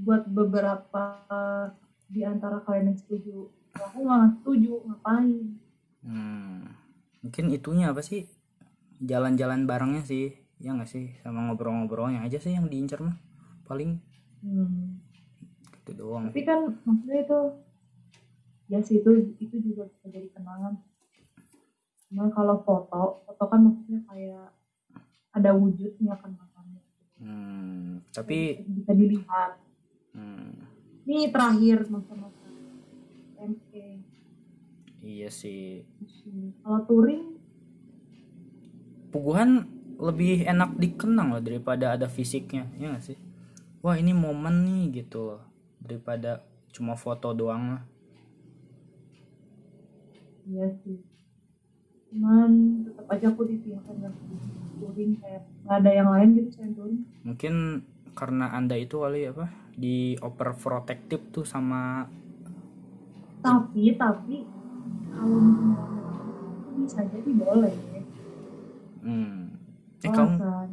buat beberapa eh, di antara kalian yang setuju Kalau aku nggak setuju ngapain
Hmm, mungkin itunya apa sih? Jalan-jalan barengnya sih, ya nggak sih? Sama ngobrol-ngobrolnya aja sih yang diincar mah. Paling
hmm.
gitu doang.
tapi kan maksudnya itu ya sih itu itu juga bisa jadi kenangan cuma kalau foto foto kan maksudnya kayak ada wujudnya kenangannya
Hmm, tapi
bisa dilihat
hmm,
ini terakhir masa-masa MK
iya sih.
kalau touring
Puguhan lebih enak dikenang loh daripada ada fisiknya, ya nggak sih? Wah ini momen nih gitu loh, daripada cuma foto doang lah.
iya sih cuman tetap aja aku disihkan dan touring kayak nggak ada yang lain gitu selain touring
Mungkin karena anda itu kali apa di overprotective tuh sama
tapi tapi kalau misalnya bisa jadi boleh ya.
hmm. Eh kamu
alasan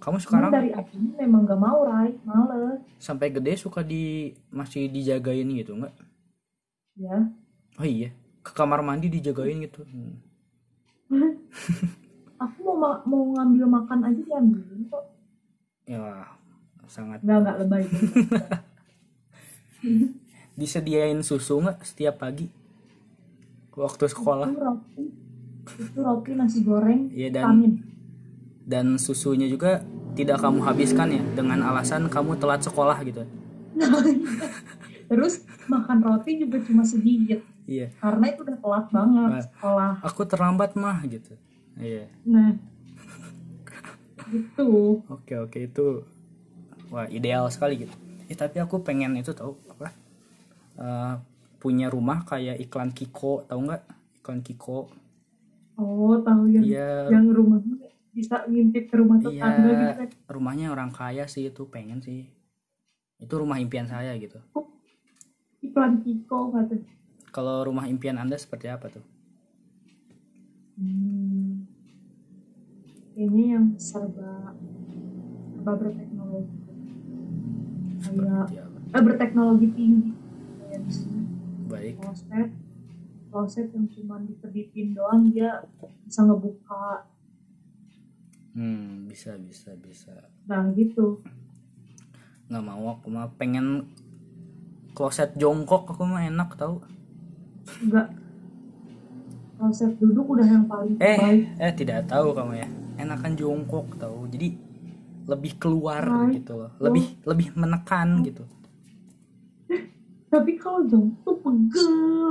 kamu
Cuman
sekarang eh.
dari aku memang gak mau Rai males
sampai gede suka di masih dijagain gitu nggak
ya
oh iya ke kamar mandi dijagain gitu Hmm.
aku mau ma- mau ngambil makan aja diambilin kok
ya sangat
nggak nggak lebay gitu.
disediain susu nggak setiap pagi waktu sekolah
itu roti itu roti nasi goreng
Iya, dan-
vitamin
dan susunya juga tidak kamu habiskan ya dengan alasan kamu telat sekolah gitu
Nah, terus makan roti juga cuma segigit
iya
karena itu udah telat banget
Nah.
sekolah
aku terlambat mah gitu iya
nah gitu
Oke oke itu wah ideal sekali gitu. Eh tapi aku pengen itu tahu apa? Eh, punya rumah kayak iklan Kiko tahu nggak? Iklan Kiko.
oh tahu yang
Iya
yang rumahnya bisa ngintip ke rumah tetangga
iya
gitu
rumahnya orang kaya sih itu pengen sih. Itu rumah impian saya gitu.
iklan Kiko kata
Kalau rumah impian anda seperti apa tuh?
Hmm. Kayaknya yang serba serba berteknologi. Kayak
Seperti apa?
eh, berteknologi tinggi. Kayak di sini
Baik.
kloset kloset yang cuma dikedipin doang dia bisa ngebuka
Hmm bisa bisa bisa.
nah gitu
Nggak mau aku mah pengen kloset jongkok aku mah enak tahu.
enggak kloset duduk udah yang paling
Eh,
baik
eh tidak tahu kamu ya. Enakan jongkok tahu. Jadi lebih keluar
Baik.
gitu loh. Lebih lebih menekan gitu.
tapi kalau jongkok tuh pegel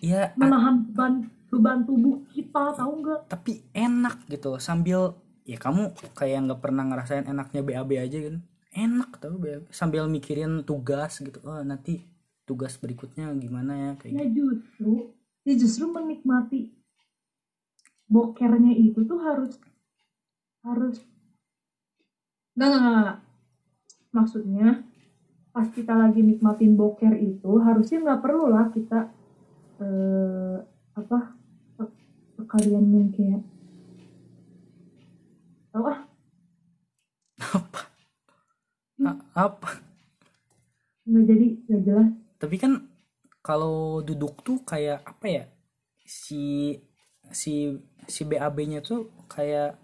Iya, a-
menahan beban beban tubuh kita tahu nggak
tapi enak gitu loh. Sambil ya kamu kayak nggak pernah ngerasain enaknya BAB aja kan. Enak tahu BAB. Sambil mikirin tugas gitu. Oh, nanti tugas berikutnya gimana ya kayak
ya
gitu.
justru ya justru menikmati bokernya itu tuh harus harus nggak nggak nggak, nggak. maksudnya pas kita lagi nikmatin boker itu harusnya nggak perlu lah kita eh, apa ke- sekalian yang kayak tau ah
apa? A- apa?
nggak jadi nggak jelas
tapi kan kalau duduk tuh kayak apa ya si si si BAB-nya tuh kayak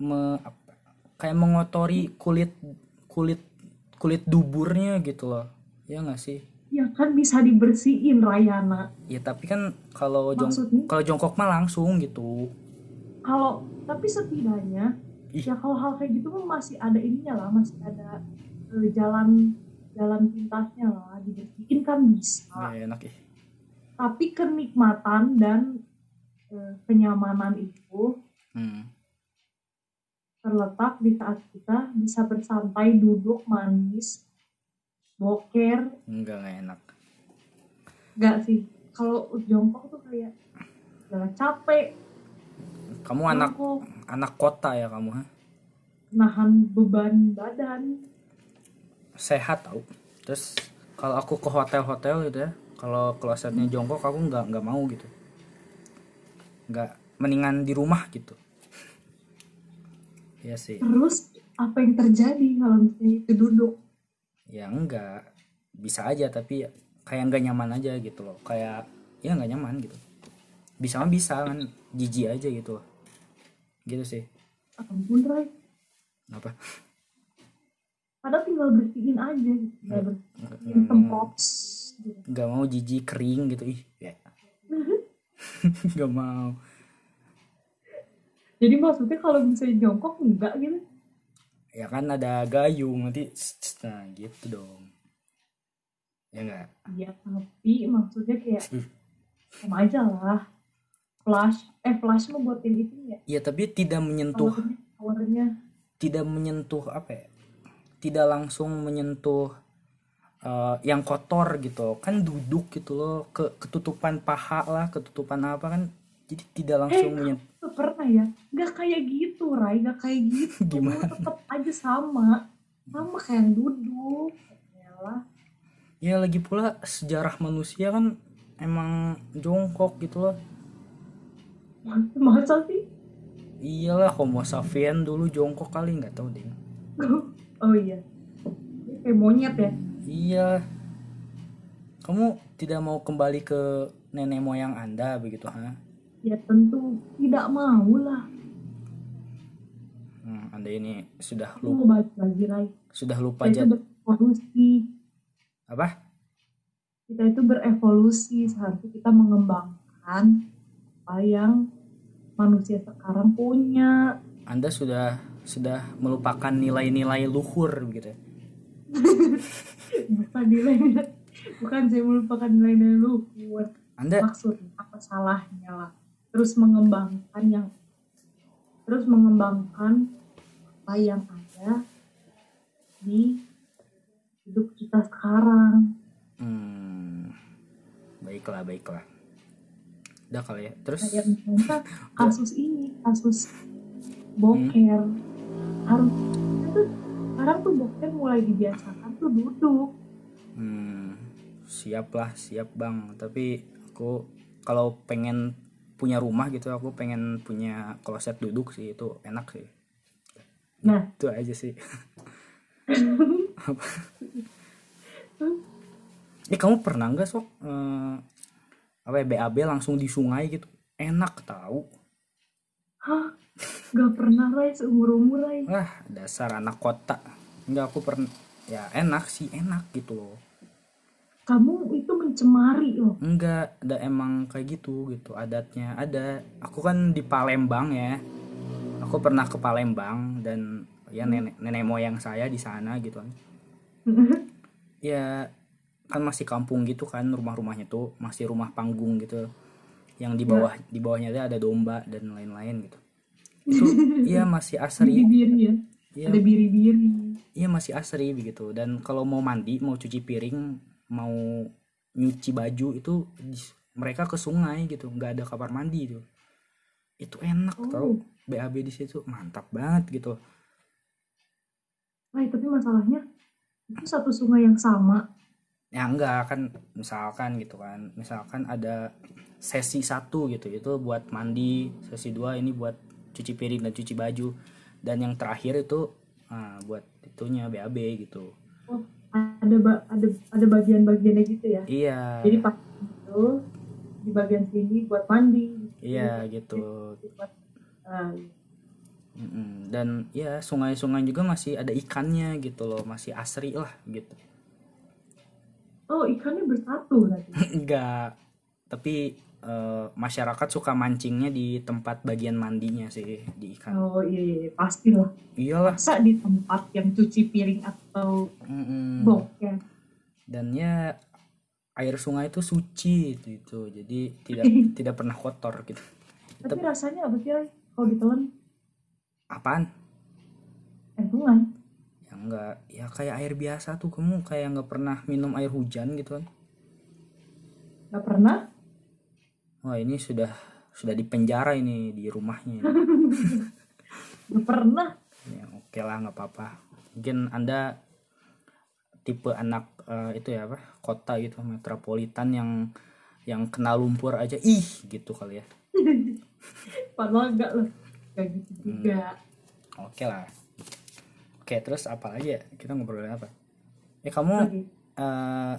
me, apa- kayak mengotori kulit kulit kulit duburnya gitu loh ya nggak sih
ya kan bisa dibersihin Rayana
ya tapi kan kalau jong
Maksudnya?
kalau jongkok mah langsung gitu
kalau tapi setidaknya
Ih.
ya kalau hal kayak gitu mah masih ada ininya lah masih ada eh, jalan jalan pintasnya lah dibersihin kan bisa
Nggak enak ya
tapi kenikmatan dan eh, kenyamanan itu
hmm.
terletak di saat kita bisa bersantai duduk manis boker
nggak nggak enak
gak sih kalau jongkok tuh kayak udah capek
kamu anak
jongkok,
anak kota ya kamu ha?
nahan beban badan
sehat tau terus kalau aku ke hotel-hotel gitu ya kalau klosetnya jongkok aku nggak nggak mau gitu nggak mendingan di rumah gitu ya sih
Terus apa yang terjadi kalau misalnya itu duduk?
ya enggak bisa aja tapi ya kayak nggak nyaman aja gitu loh kayak ya nggak nyaman gitu bisa mah bisa kan jijik aja gitu loh gitu sih
Ampun Roy,
apa
padahal tinggal bersihin aja, tinggal bersihin
Hmm.
tempat. Gitu.
nggak mau jijik kering gitu ih ya. nggak mau
Jadi maksudnya kalau misalnya jongkok enggak gitu?
ya kan ada gayung nanti s- s- nah gitu dong ya enggak
Iya, tapi maksudnya kayak sama aja lah. Flash, eh flash mau buatin itu ya?
ya tapi tidak menyentuh
Warnanya, warnanya.
tidak menyentuh apa ya tidak langsung menyentuh eh, yang kotor gitu kan duduk gitu loh ke ketutupan paha lah ketutupan apa kan jadi tidak langsung
Eh,
menyentuh
kamu tuh pernah ya? Gak kayak gitu, Rai. Gak kayak gitu.
Gimana?
Tetep aja sama. Sama kayak yang duduk. Yalah.
ya lagi pula sejarah manusia kan emang jongkok gitu loh
Masa sih?
iyalah homo sapien dulu jongkok kali nggak tahu deh
oh iya. Ini Kayak monyet ya?
iya kamu tidak mau kembali ke nenek moyang anda begitu ha
Ya tentu tidak mau lah.
Hmm, anda ini sudah
Aku
lupa
mau balik lagi, Rai.
sudah lupa
Kita itu
jad-
berevolusi.
apa
Kita itu berevolusi. Seharusnya kita mengembangkan apa yang manusia sekarang punya.
Anda sudah sudah melupakan nilai-nilai luhur gitu.
Bukan nilai Bukan saya melupakan nilai-nilai luhur. Ah.
Anda
maksudnya apa salahnya lah terus mengembangkan yang terus mengembangkan apa yang ada di hidup kita sekarang
hmm, baiklah baiklah. Udah kali ya. Terus
kayak misalnya kasus ini kasus boker harus itu sekarang tuh boker mulai dibiasakan tuh duduk
hmm, siaplah siap bang. Tapi aku kalau pengen punya rumah gitu aku pengen punya kloset duduk sih itu enak sih.
Nah.
itu aja sih. Ini kamu pernah nggak sok eh, apa ya, BAB langsung di sungai gitu? Enak tahu.
hah gak pernah Rai seumur umur Rai
Wah, Ah, dasar anak kota. Enggak aku pernah ya enak sih, enak gitu loh.
kamu itu mencemari loh
Enggak, ada emang kayak gitu gitu adatnya. Ada. Aku kan di Palembang ya. Aku pernah ke Palembang dan ya nenek nenek moyang saya di sana gitu kan. Ya kan masih kampung gitu kan rumah-rumahnya tuh masih rumah panggung gitu. Yang di bawah di bawahnya tuh ada domba dan lain-lain gitu. Itu iya masih asri.
biri-biri ya
Iya
ada biri-biri
Iya masih asri begitu dan kalau mau mandi mau cuci piring mau nyuci baju itu di- mereka ke sungai gitu nggak ada kamar mandi itu itu enak
Oh.
tau BAB di situ mantap banget gitu
Nah, tapi masalahnya itu satu sungai yang sama.
ya enggak kan misalkan gitu kan misalkan ada sesi satu gitu itu buat mandi sesi dua ini buat cuci piring dan cuci baju dan yang terakhir itu ah, buat itunya BAB gitu
Oh, ada ba- ada ada bagian-bagiannya gitu ya.
iya
Jadi pas itu di bagian sini buat mandi.
iya gitu
Jadi buat, eh,
Mm-mm. Dan ya sungai-sungai juga masih ada ikannya gitu loh, masih asri lah gitu.
oh ikannya bersatu nanti.
Enggak, tapi eh, masyarakat suka mancingnya di tempat bagian mandinya sih di ikan.
Oh iya, iya iya, pastilah.
Iyalah.
Masa di tempat yang cuci piring atau
mm-mm.
boker.
Dan ya air sungai itu suci gitu, gitu. jadi tidak tidak pernah kotor gitu.
Tapi
Tep-
rasanya apa sih Ray? kalau ditelan
Apaan?
air sungai?
Ya enggak, ya kayak air biasa tuh kamu kayak nggak pernah minum air hujan gitu kan.
Gak pernah.
Wah, ini sudah sudah dipenjara ini di rumahnya.
Gak pernah.
Ya, oke lah nggak apa-apa. Mungkin anda tipe anak eh, itu ya apa kota gitu metropolitan yang yang kena lumpur aja ih gitu kali ya
padahal enggak loh enggak gitu juga
oke lah oke terus apa aja kita ngobrolin apa eh kamu
Oke.
eh,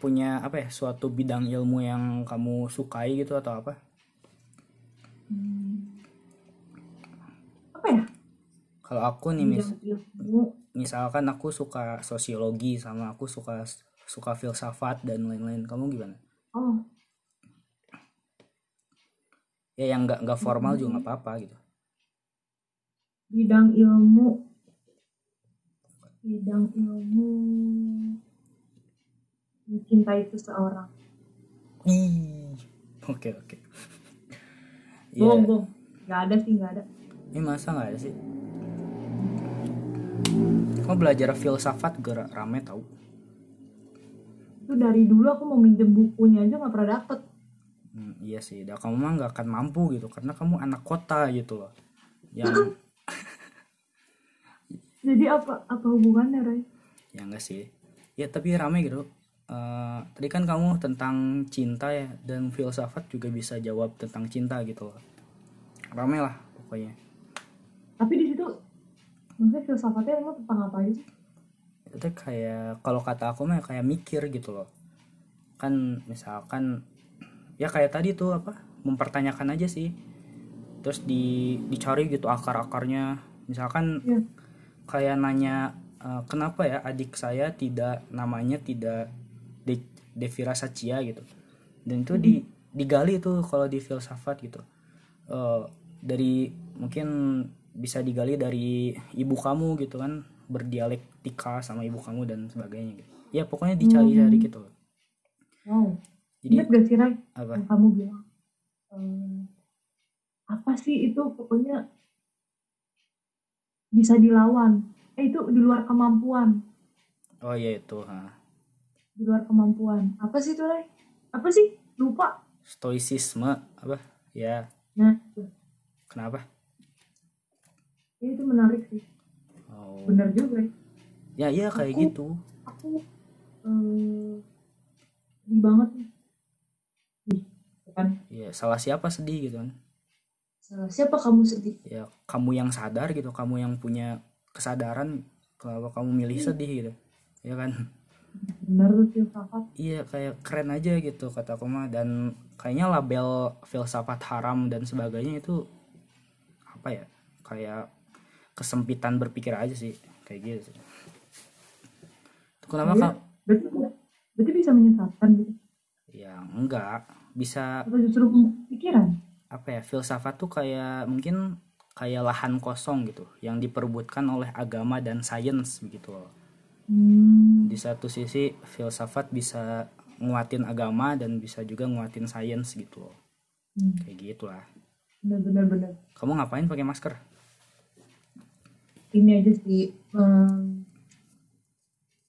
punya apa ya suatu bidang ilmu yang kamu sukai gitu atau apa
Hmm. apa ya
kalau aku nih mis
bidang ilmu
misalkan aku suka sosiologi sama aku suka suka filsafat dan lain-lain kamu gimana
oh
ya yang nggak nggak formal juga nggak apa-apa gitu
bidang ilmu bidang ilmu mencintai seseorang
Ih. oke oke Iya.
bohong bohong nggak ada sih nggak ada
ini masa nggak ada sih kamu belajar filsafat gara rame tau
itu dari dulu aku mau minjem bukunya aja nggak pernah dapet
Hmm, iya sih dan kamu mah nggak akan mampu gitu karena kamu anak kota gitu loh yang
jadi apa apa hubungannya Ray
ya enggak sih ya tapi rame gitu Eh, tadi kan kamu tentang cinta ya dan filsafat juga bisa jawab tentang cinta gitu loh rame lah pokoknya
tapi di situ maksudnya filsafatnya emang tentang apa aja sih
itu kayak kalau kata aku mah kayak mikir gitu loh kan misalkan ya kayak tadi tuh apa mempertanyakan aja sih terus di dicari gitu akar akarnya misalkan
Iya.
kayak nanya eh, kenapa ya adik saya tidak namanya tidak De Devira Satya gitu dan itu di digali tuh kalau di filsafat gitu Eh, dari mungkin bisa digali dari ibu kamu gitu kan berdialektika sama ibu kamu dan sebagainya gitu ya pokoknya dicari-cari gitu loh.
wow
jadi
ingat gak sih Ray
apa
yang kamu bilang ehm, apa sih itu pokoknya bisa dilawan eh itu di luar kemampuan
oh iya itu ha.
di luar kemampuan apa sih itu Ray apa sih lupa
stoicisme apa ya
nah itu.
kenapa
Ya, itu menarik sih
oh
benar juga Ray.
ya iya kayak
Aku-
gitu
aku eh sedih banget nih Ih, tuh kan
ya salah siapa sedih gitu kan
salah siapa kamu sedih
ya kamu yang sadar gitu kamu yang punya kesadaran kalau kamu milih sedih gitu ya kan
benar tuh filsafat
iya kayak keren aja gitu kata aku mah dan kayaknya label filsafat haram dan sebagainya itu apa ya kayak kesempitan berpikir aja sih kayak gitu sih. kenapa
Iya.
kak
berarti berarti bisa menyesatkan gitu
ya enggak bisa
atau justru pikiran
apa ya filsafat tuh kayak mungkin kayak lahan kosong gitu yang diperebutkan oleh agama dan sains begitu loh
hmm,
di satu sisi filsafat bisa nguatin agama dan bisa juga nguatin sains gitu loh
hmm,
kayak gitulah
benar benar benar
kamu ngapain pakai masker
ini aja sih em,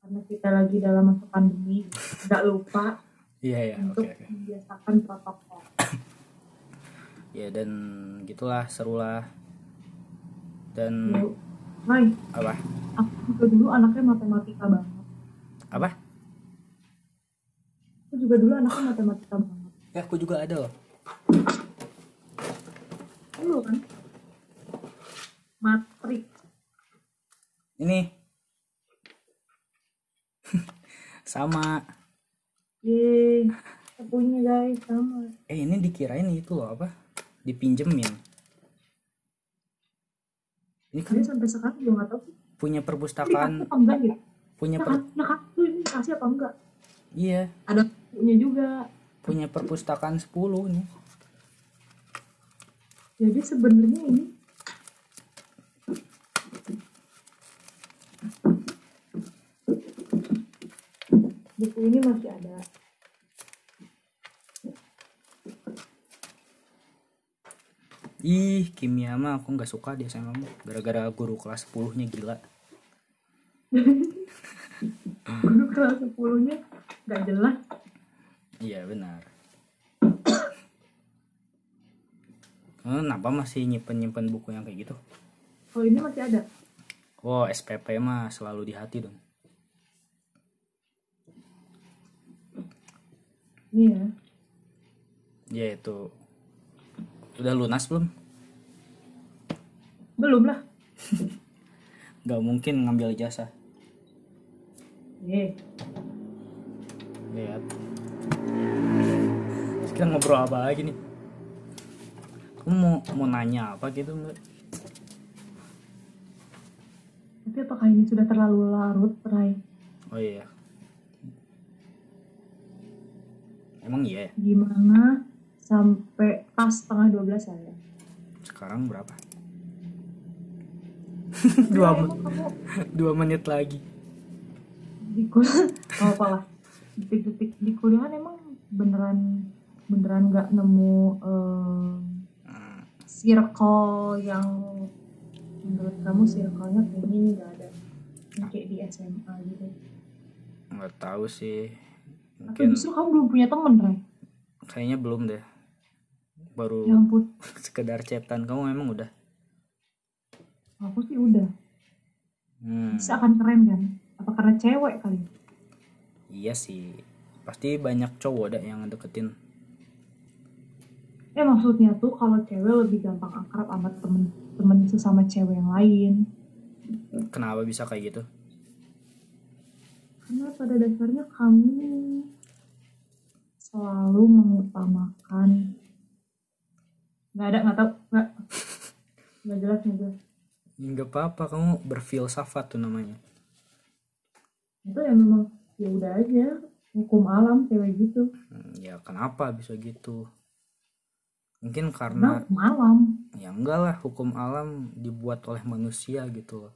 karena kita lagi dalam masa pandemi nggak lupa
iya iya
untuk membiasakan protokol
ya dan gitulah serulah dan
Yuk. Ray,
apa
aku juga dulu anaknya matematika banget
apa
aku juga dulu anaknya matematika banget
ya aku juga ada loh
dulu kan matrik
ini sama
yeay aku punya guys sama
eh ini dikirain itu loh apa dipinjemin ini kan
Dia sampai sekarang juga nggak tahu sih
punya
ini dikasih
perpustakaan
apa enggak gitu
punya
nah,
per,
nah kamu tuh ini kasih apa enggak
iya
ada punya juga
punya perpustakaan 10 nih
jadi sebenarnya ini buku ini masih ada
ih kimia mah aku nggak suka dia sama gara-gara guru kelas 10 nya gila
guru kelas 10 nya nggak jelas
iya benar Eh, kenapa masih nyimpen nyimpen buku yang kayak gitu
kalau ini masih ada
oh SPP mah selalu di hati dong
Iya.
ya itu udah lunas belum
Belum lah.
nggak mungkin ngambil ijazah
Iya.
lihat Terus kita ngobrol apa lagi nih kamu mau mau nanya apa gitu mbak
Tapi apakah ini sudah terlalu larut, Rai?
oh iya emang iya ya
Gimana sampai pas setengah ya? 12 saya?
sekarang berapa
Dua
dua men-
kamu
dua menit lagi
di kuliah, oh, apalah. Detik-detik di kuliahan emang beneran beneran nggak nemu eh,
Hmm,
circle yang menurut kamu circle-nya kayak gini nggak ada Yang kayak di SMA gitu.
nggak tahu sih
Atau
mungkin
justru kamu belum punya temen, Rai?
kayaknya belum deh baru
Ya ampun,
sekedar cetan kamu emang udah
aku sih udah.
Hmm,
Bisa akan keren kan? Apa karena cewek kali? ya?
iya sih pasti banyak cowok dah yang deketin
Eh maksudnya tuh kalau cewek lebih gampang akrab sama temen-temen sesama cewek yang lain.
kenapa bisa kayak gitu
Karena pada dasarnya kami selalu mengutamakan nggak ada nggak tahu nggak nggak jelas nggak jelas
Ya, nggak apa-apa kamu berfilsafat tuh namanya
itu ya memang ya udah aja hukum alam cewek gitu
Hmm, ya kenapa bisa gitu mungkin
karena
karena
hukum alam
ya enggak lah hukum alam dibuat oleh manusia gitu loh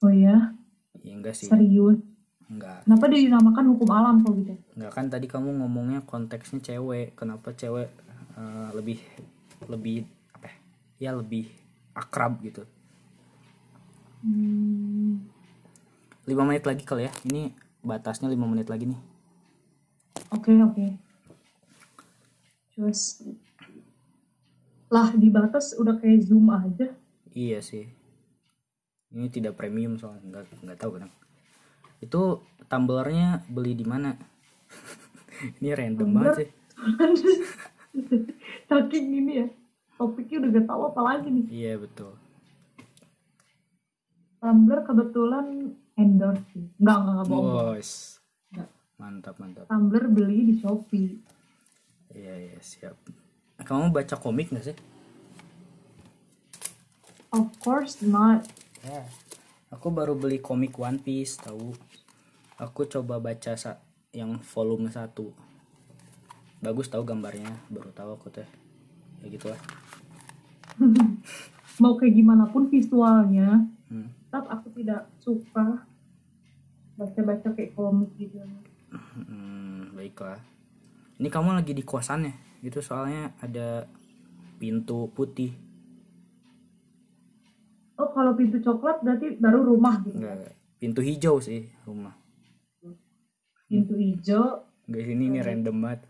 oh ya
ya enggak sih
serius
enggak
kenapa dia dinamakan hukum alam kalau gitu
enggak kan tadi kamu ngomongnya konteksnya cewek kenapa cewek eh, lebih lebih apa ya, ya lebih akrab gitu
hmm,
lima menit lagi kali ya ini batasnya lima menit lagi nih
Oke oke. Terus lah di batas udah kayak zoom aja.
Iya sih. Ini tidak premium soalnya nggak nggak tahu kan. Itu tumblernya beli di mana? Ini random
Tumbler?
banget sih.
Kan Saking ini ya. Topiknya udah gak tahu apa lagi nih.
Iya betul.
Tumblr kebetulan endorse sih. Enggak enggak enggak bohong.
Bos.
Nggak.
Mantap mantap.
Tumblr beli di Shopee.
Iya iya siap. Kamu baca komik nggak sih?
Of course not.
Ya. Aku baru beli komik One Piece tahu. Aku coba baca sa- yang volume 1 bagus tahu gambarnya baru tahu aku teh ya gitulah
Mau kayak gimana pun visualnya,
hmm.
tetap aku tidak suka baca-baca kayak komik gitu.
Hmm, baiklah. Ini kamu lagi di kosannya, gitu soalnya ada pintu putih.
Oh kalau pintu coklat berarti baru rumah gitu.
Enggak, enggak. pintu hijau sih rumah.
Pintu hijau,
Guys, ini ini random banget.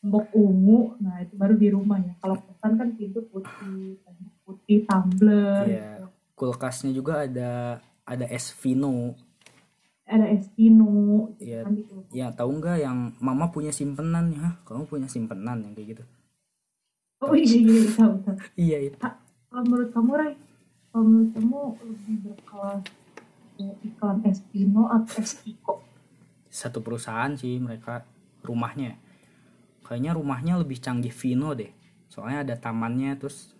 tembok ungu nah itu baru di rumah ya kalau kosan kan pintu putih tembok putih tumbler gitu.
Iya. Kulkasnya juga ada ada es vino.
ada Espino gitu
Iya.
kan gitu
Ya, tahu nggak yang mama punya simpenan ya? Kamu punya simpenan yang kayak gitu.
oh iya iya iya, tahu tahu
Iya, itu.
kalau menurut kamu Ray kalau menurut kamu lebih berkelas eh, iklan Espino atau Espiko
Satu perusahaan sih mereka rumahnya. Kayaknya rumahnya lebih canggih vino deh. Soalnya ada tamannya terus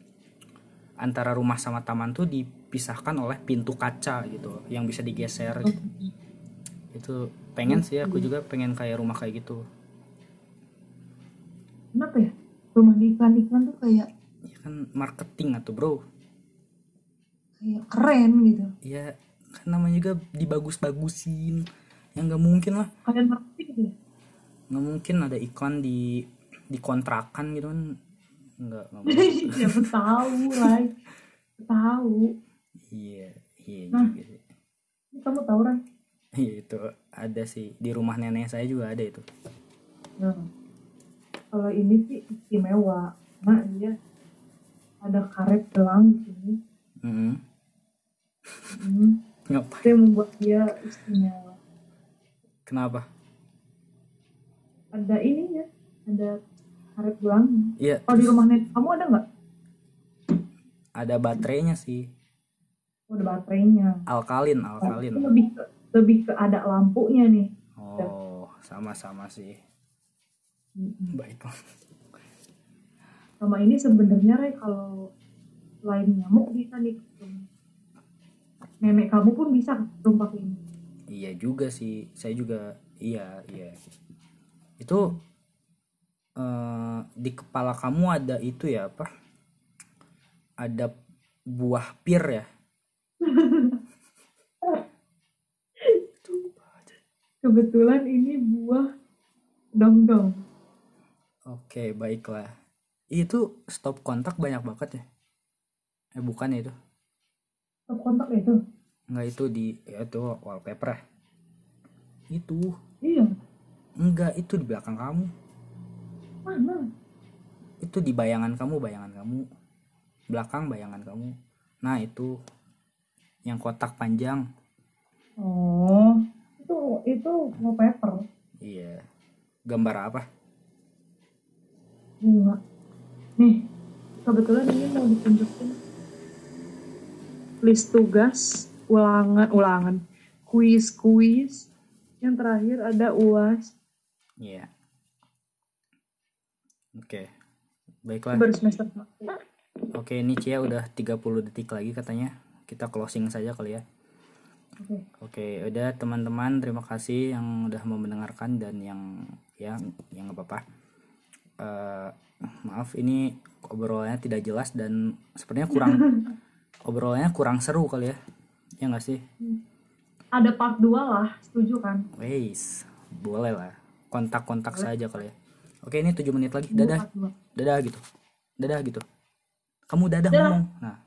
antara rumah sama taman tuh dipisahkan oleh pintu kaca gitu yang bisa digeser gitu. itu pengen sih aku juga pengen kayak rumah kayak gitu
kenapa ya rumah di iklan iklan tuh kayak
ya kan marketing atau bro
kayak keren gitu
ya kan namanya juga dibagus-bagusin ya nggak mungkin lah
kalian ngerti gitu ya
nggak mungkin ada iklan di dikontrakan gitu kan nggak nggak mungkin.
ya tahu Ray tahu
iya iya
Nah.
juga sih.
Ini kamu tahu Ray
iya itu ada sih di rumah nenek saya juga ada itu
Nah, kalau ini sih istimewa, karena dia ada karet gelang di sini,
Mm-mm.
hmm,
Ngapa?
itu yang membuat dia istimewa.
kenapa
ada ininya ada karet bulang
Iya,
kalau di rumah nenek kamu ada nggak
ada baterainya sih.
oh, ada baterainya
Alkalin,
Nah, itu
alkalin.
lebih ke, lebih ke ada lampunya nih
Oh, sama-sama sih.
Mm-mm.
Baiklah.
sama ini sebenarnya Ray kalau lain nyamuk bisa nih ketum. nenek kamu pun bisa ketum pakai ini
Iya juga sih, saya juga iya iya. Itu eh, di kepala kamu ada itu ya apa? Ada buah pir ya?
kebetulan ini buah dongdong
Oke baiklah. Itu stop kontak banyak banget ya? Eh bukan ya itu?
stop kontak itu
Enggak itu di ya itu wallpaper ya? Itu
iya
enggak itu di belakang kamu.
mana
Itu di bayangan kamu bayangan kamu. Belakang bayangan kamu. Nah itu yang kotak panjang.
oh itu itu wallpaper
Iya. Gambar apa?
bunga nih kebetulan ini mau ditunjukin list tugas ulangan ulangan kuis kuis yang terakhir ada uas
Iya. Oke. Baiklah.
baru semester satu
Oke, ini Cia udah 30 detik lagi katanya. Kita closing saja kali ya.
Oke.
Oke, udah teman-teman, terima kasih yang udah mau mendengarkan dan yang yang yang nggak apa-apa. Eh, maaf ini obrolannya tidak jelas dan sepertinya kurang obrolannya kurang seru kali ya. Ya nggak sih?
ada part 2 lah setuju kan
Weis, boleh lah. Kontak-kontak saja kali ya. Oke, ini 7 menit lagi. Dadah.
Part dua.
dadah gitu dadah gitu kamu dadah,
Dadah.
ngomong nah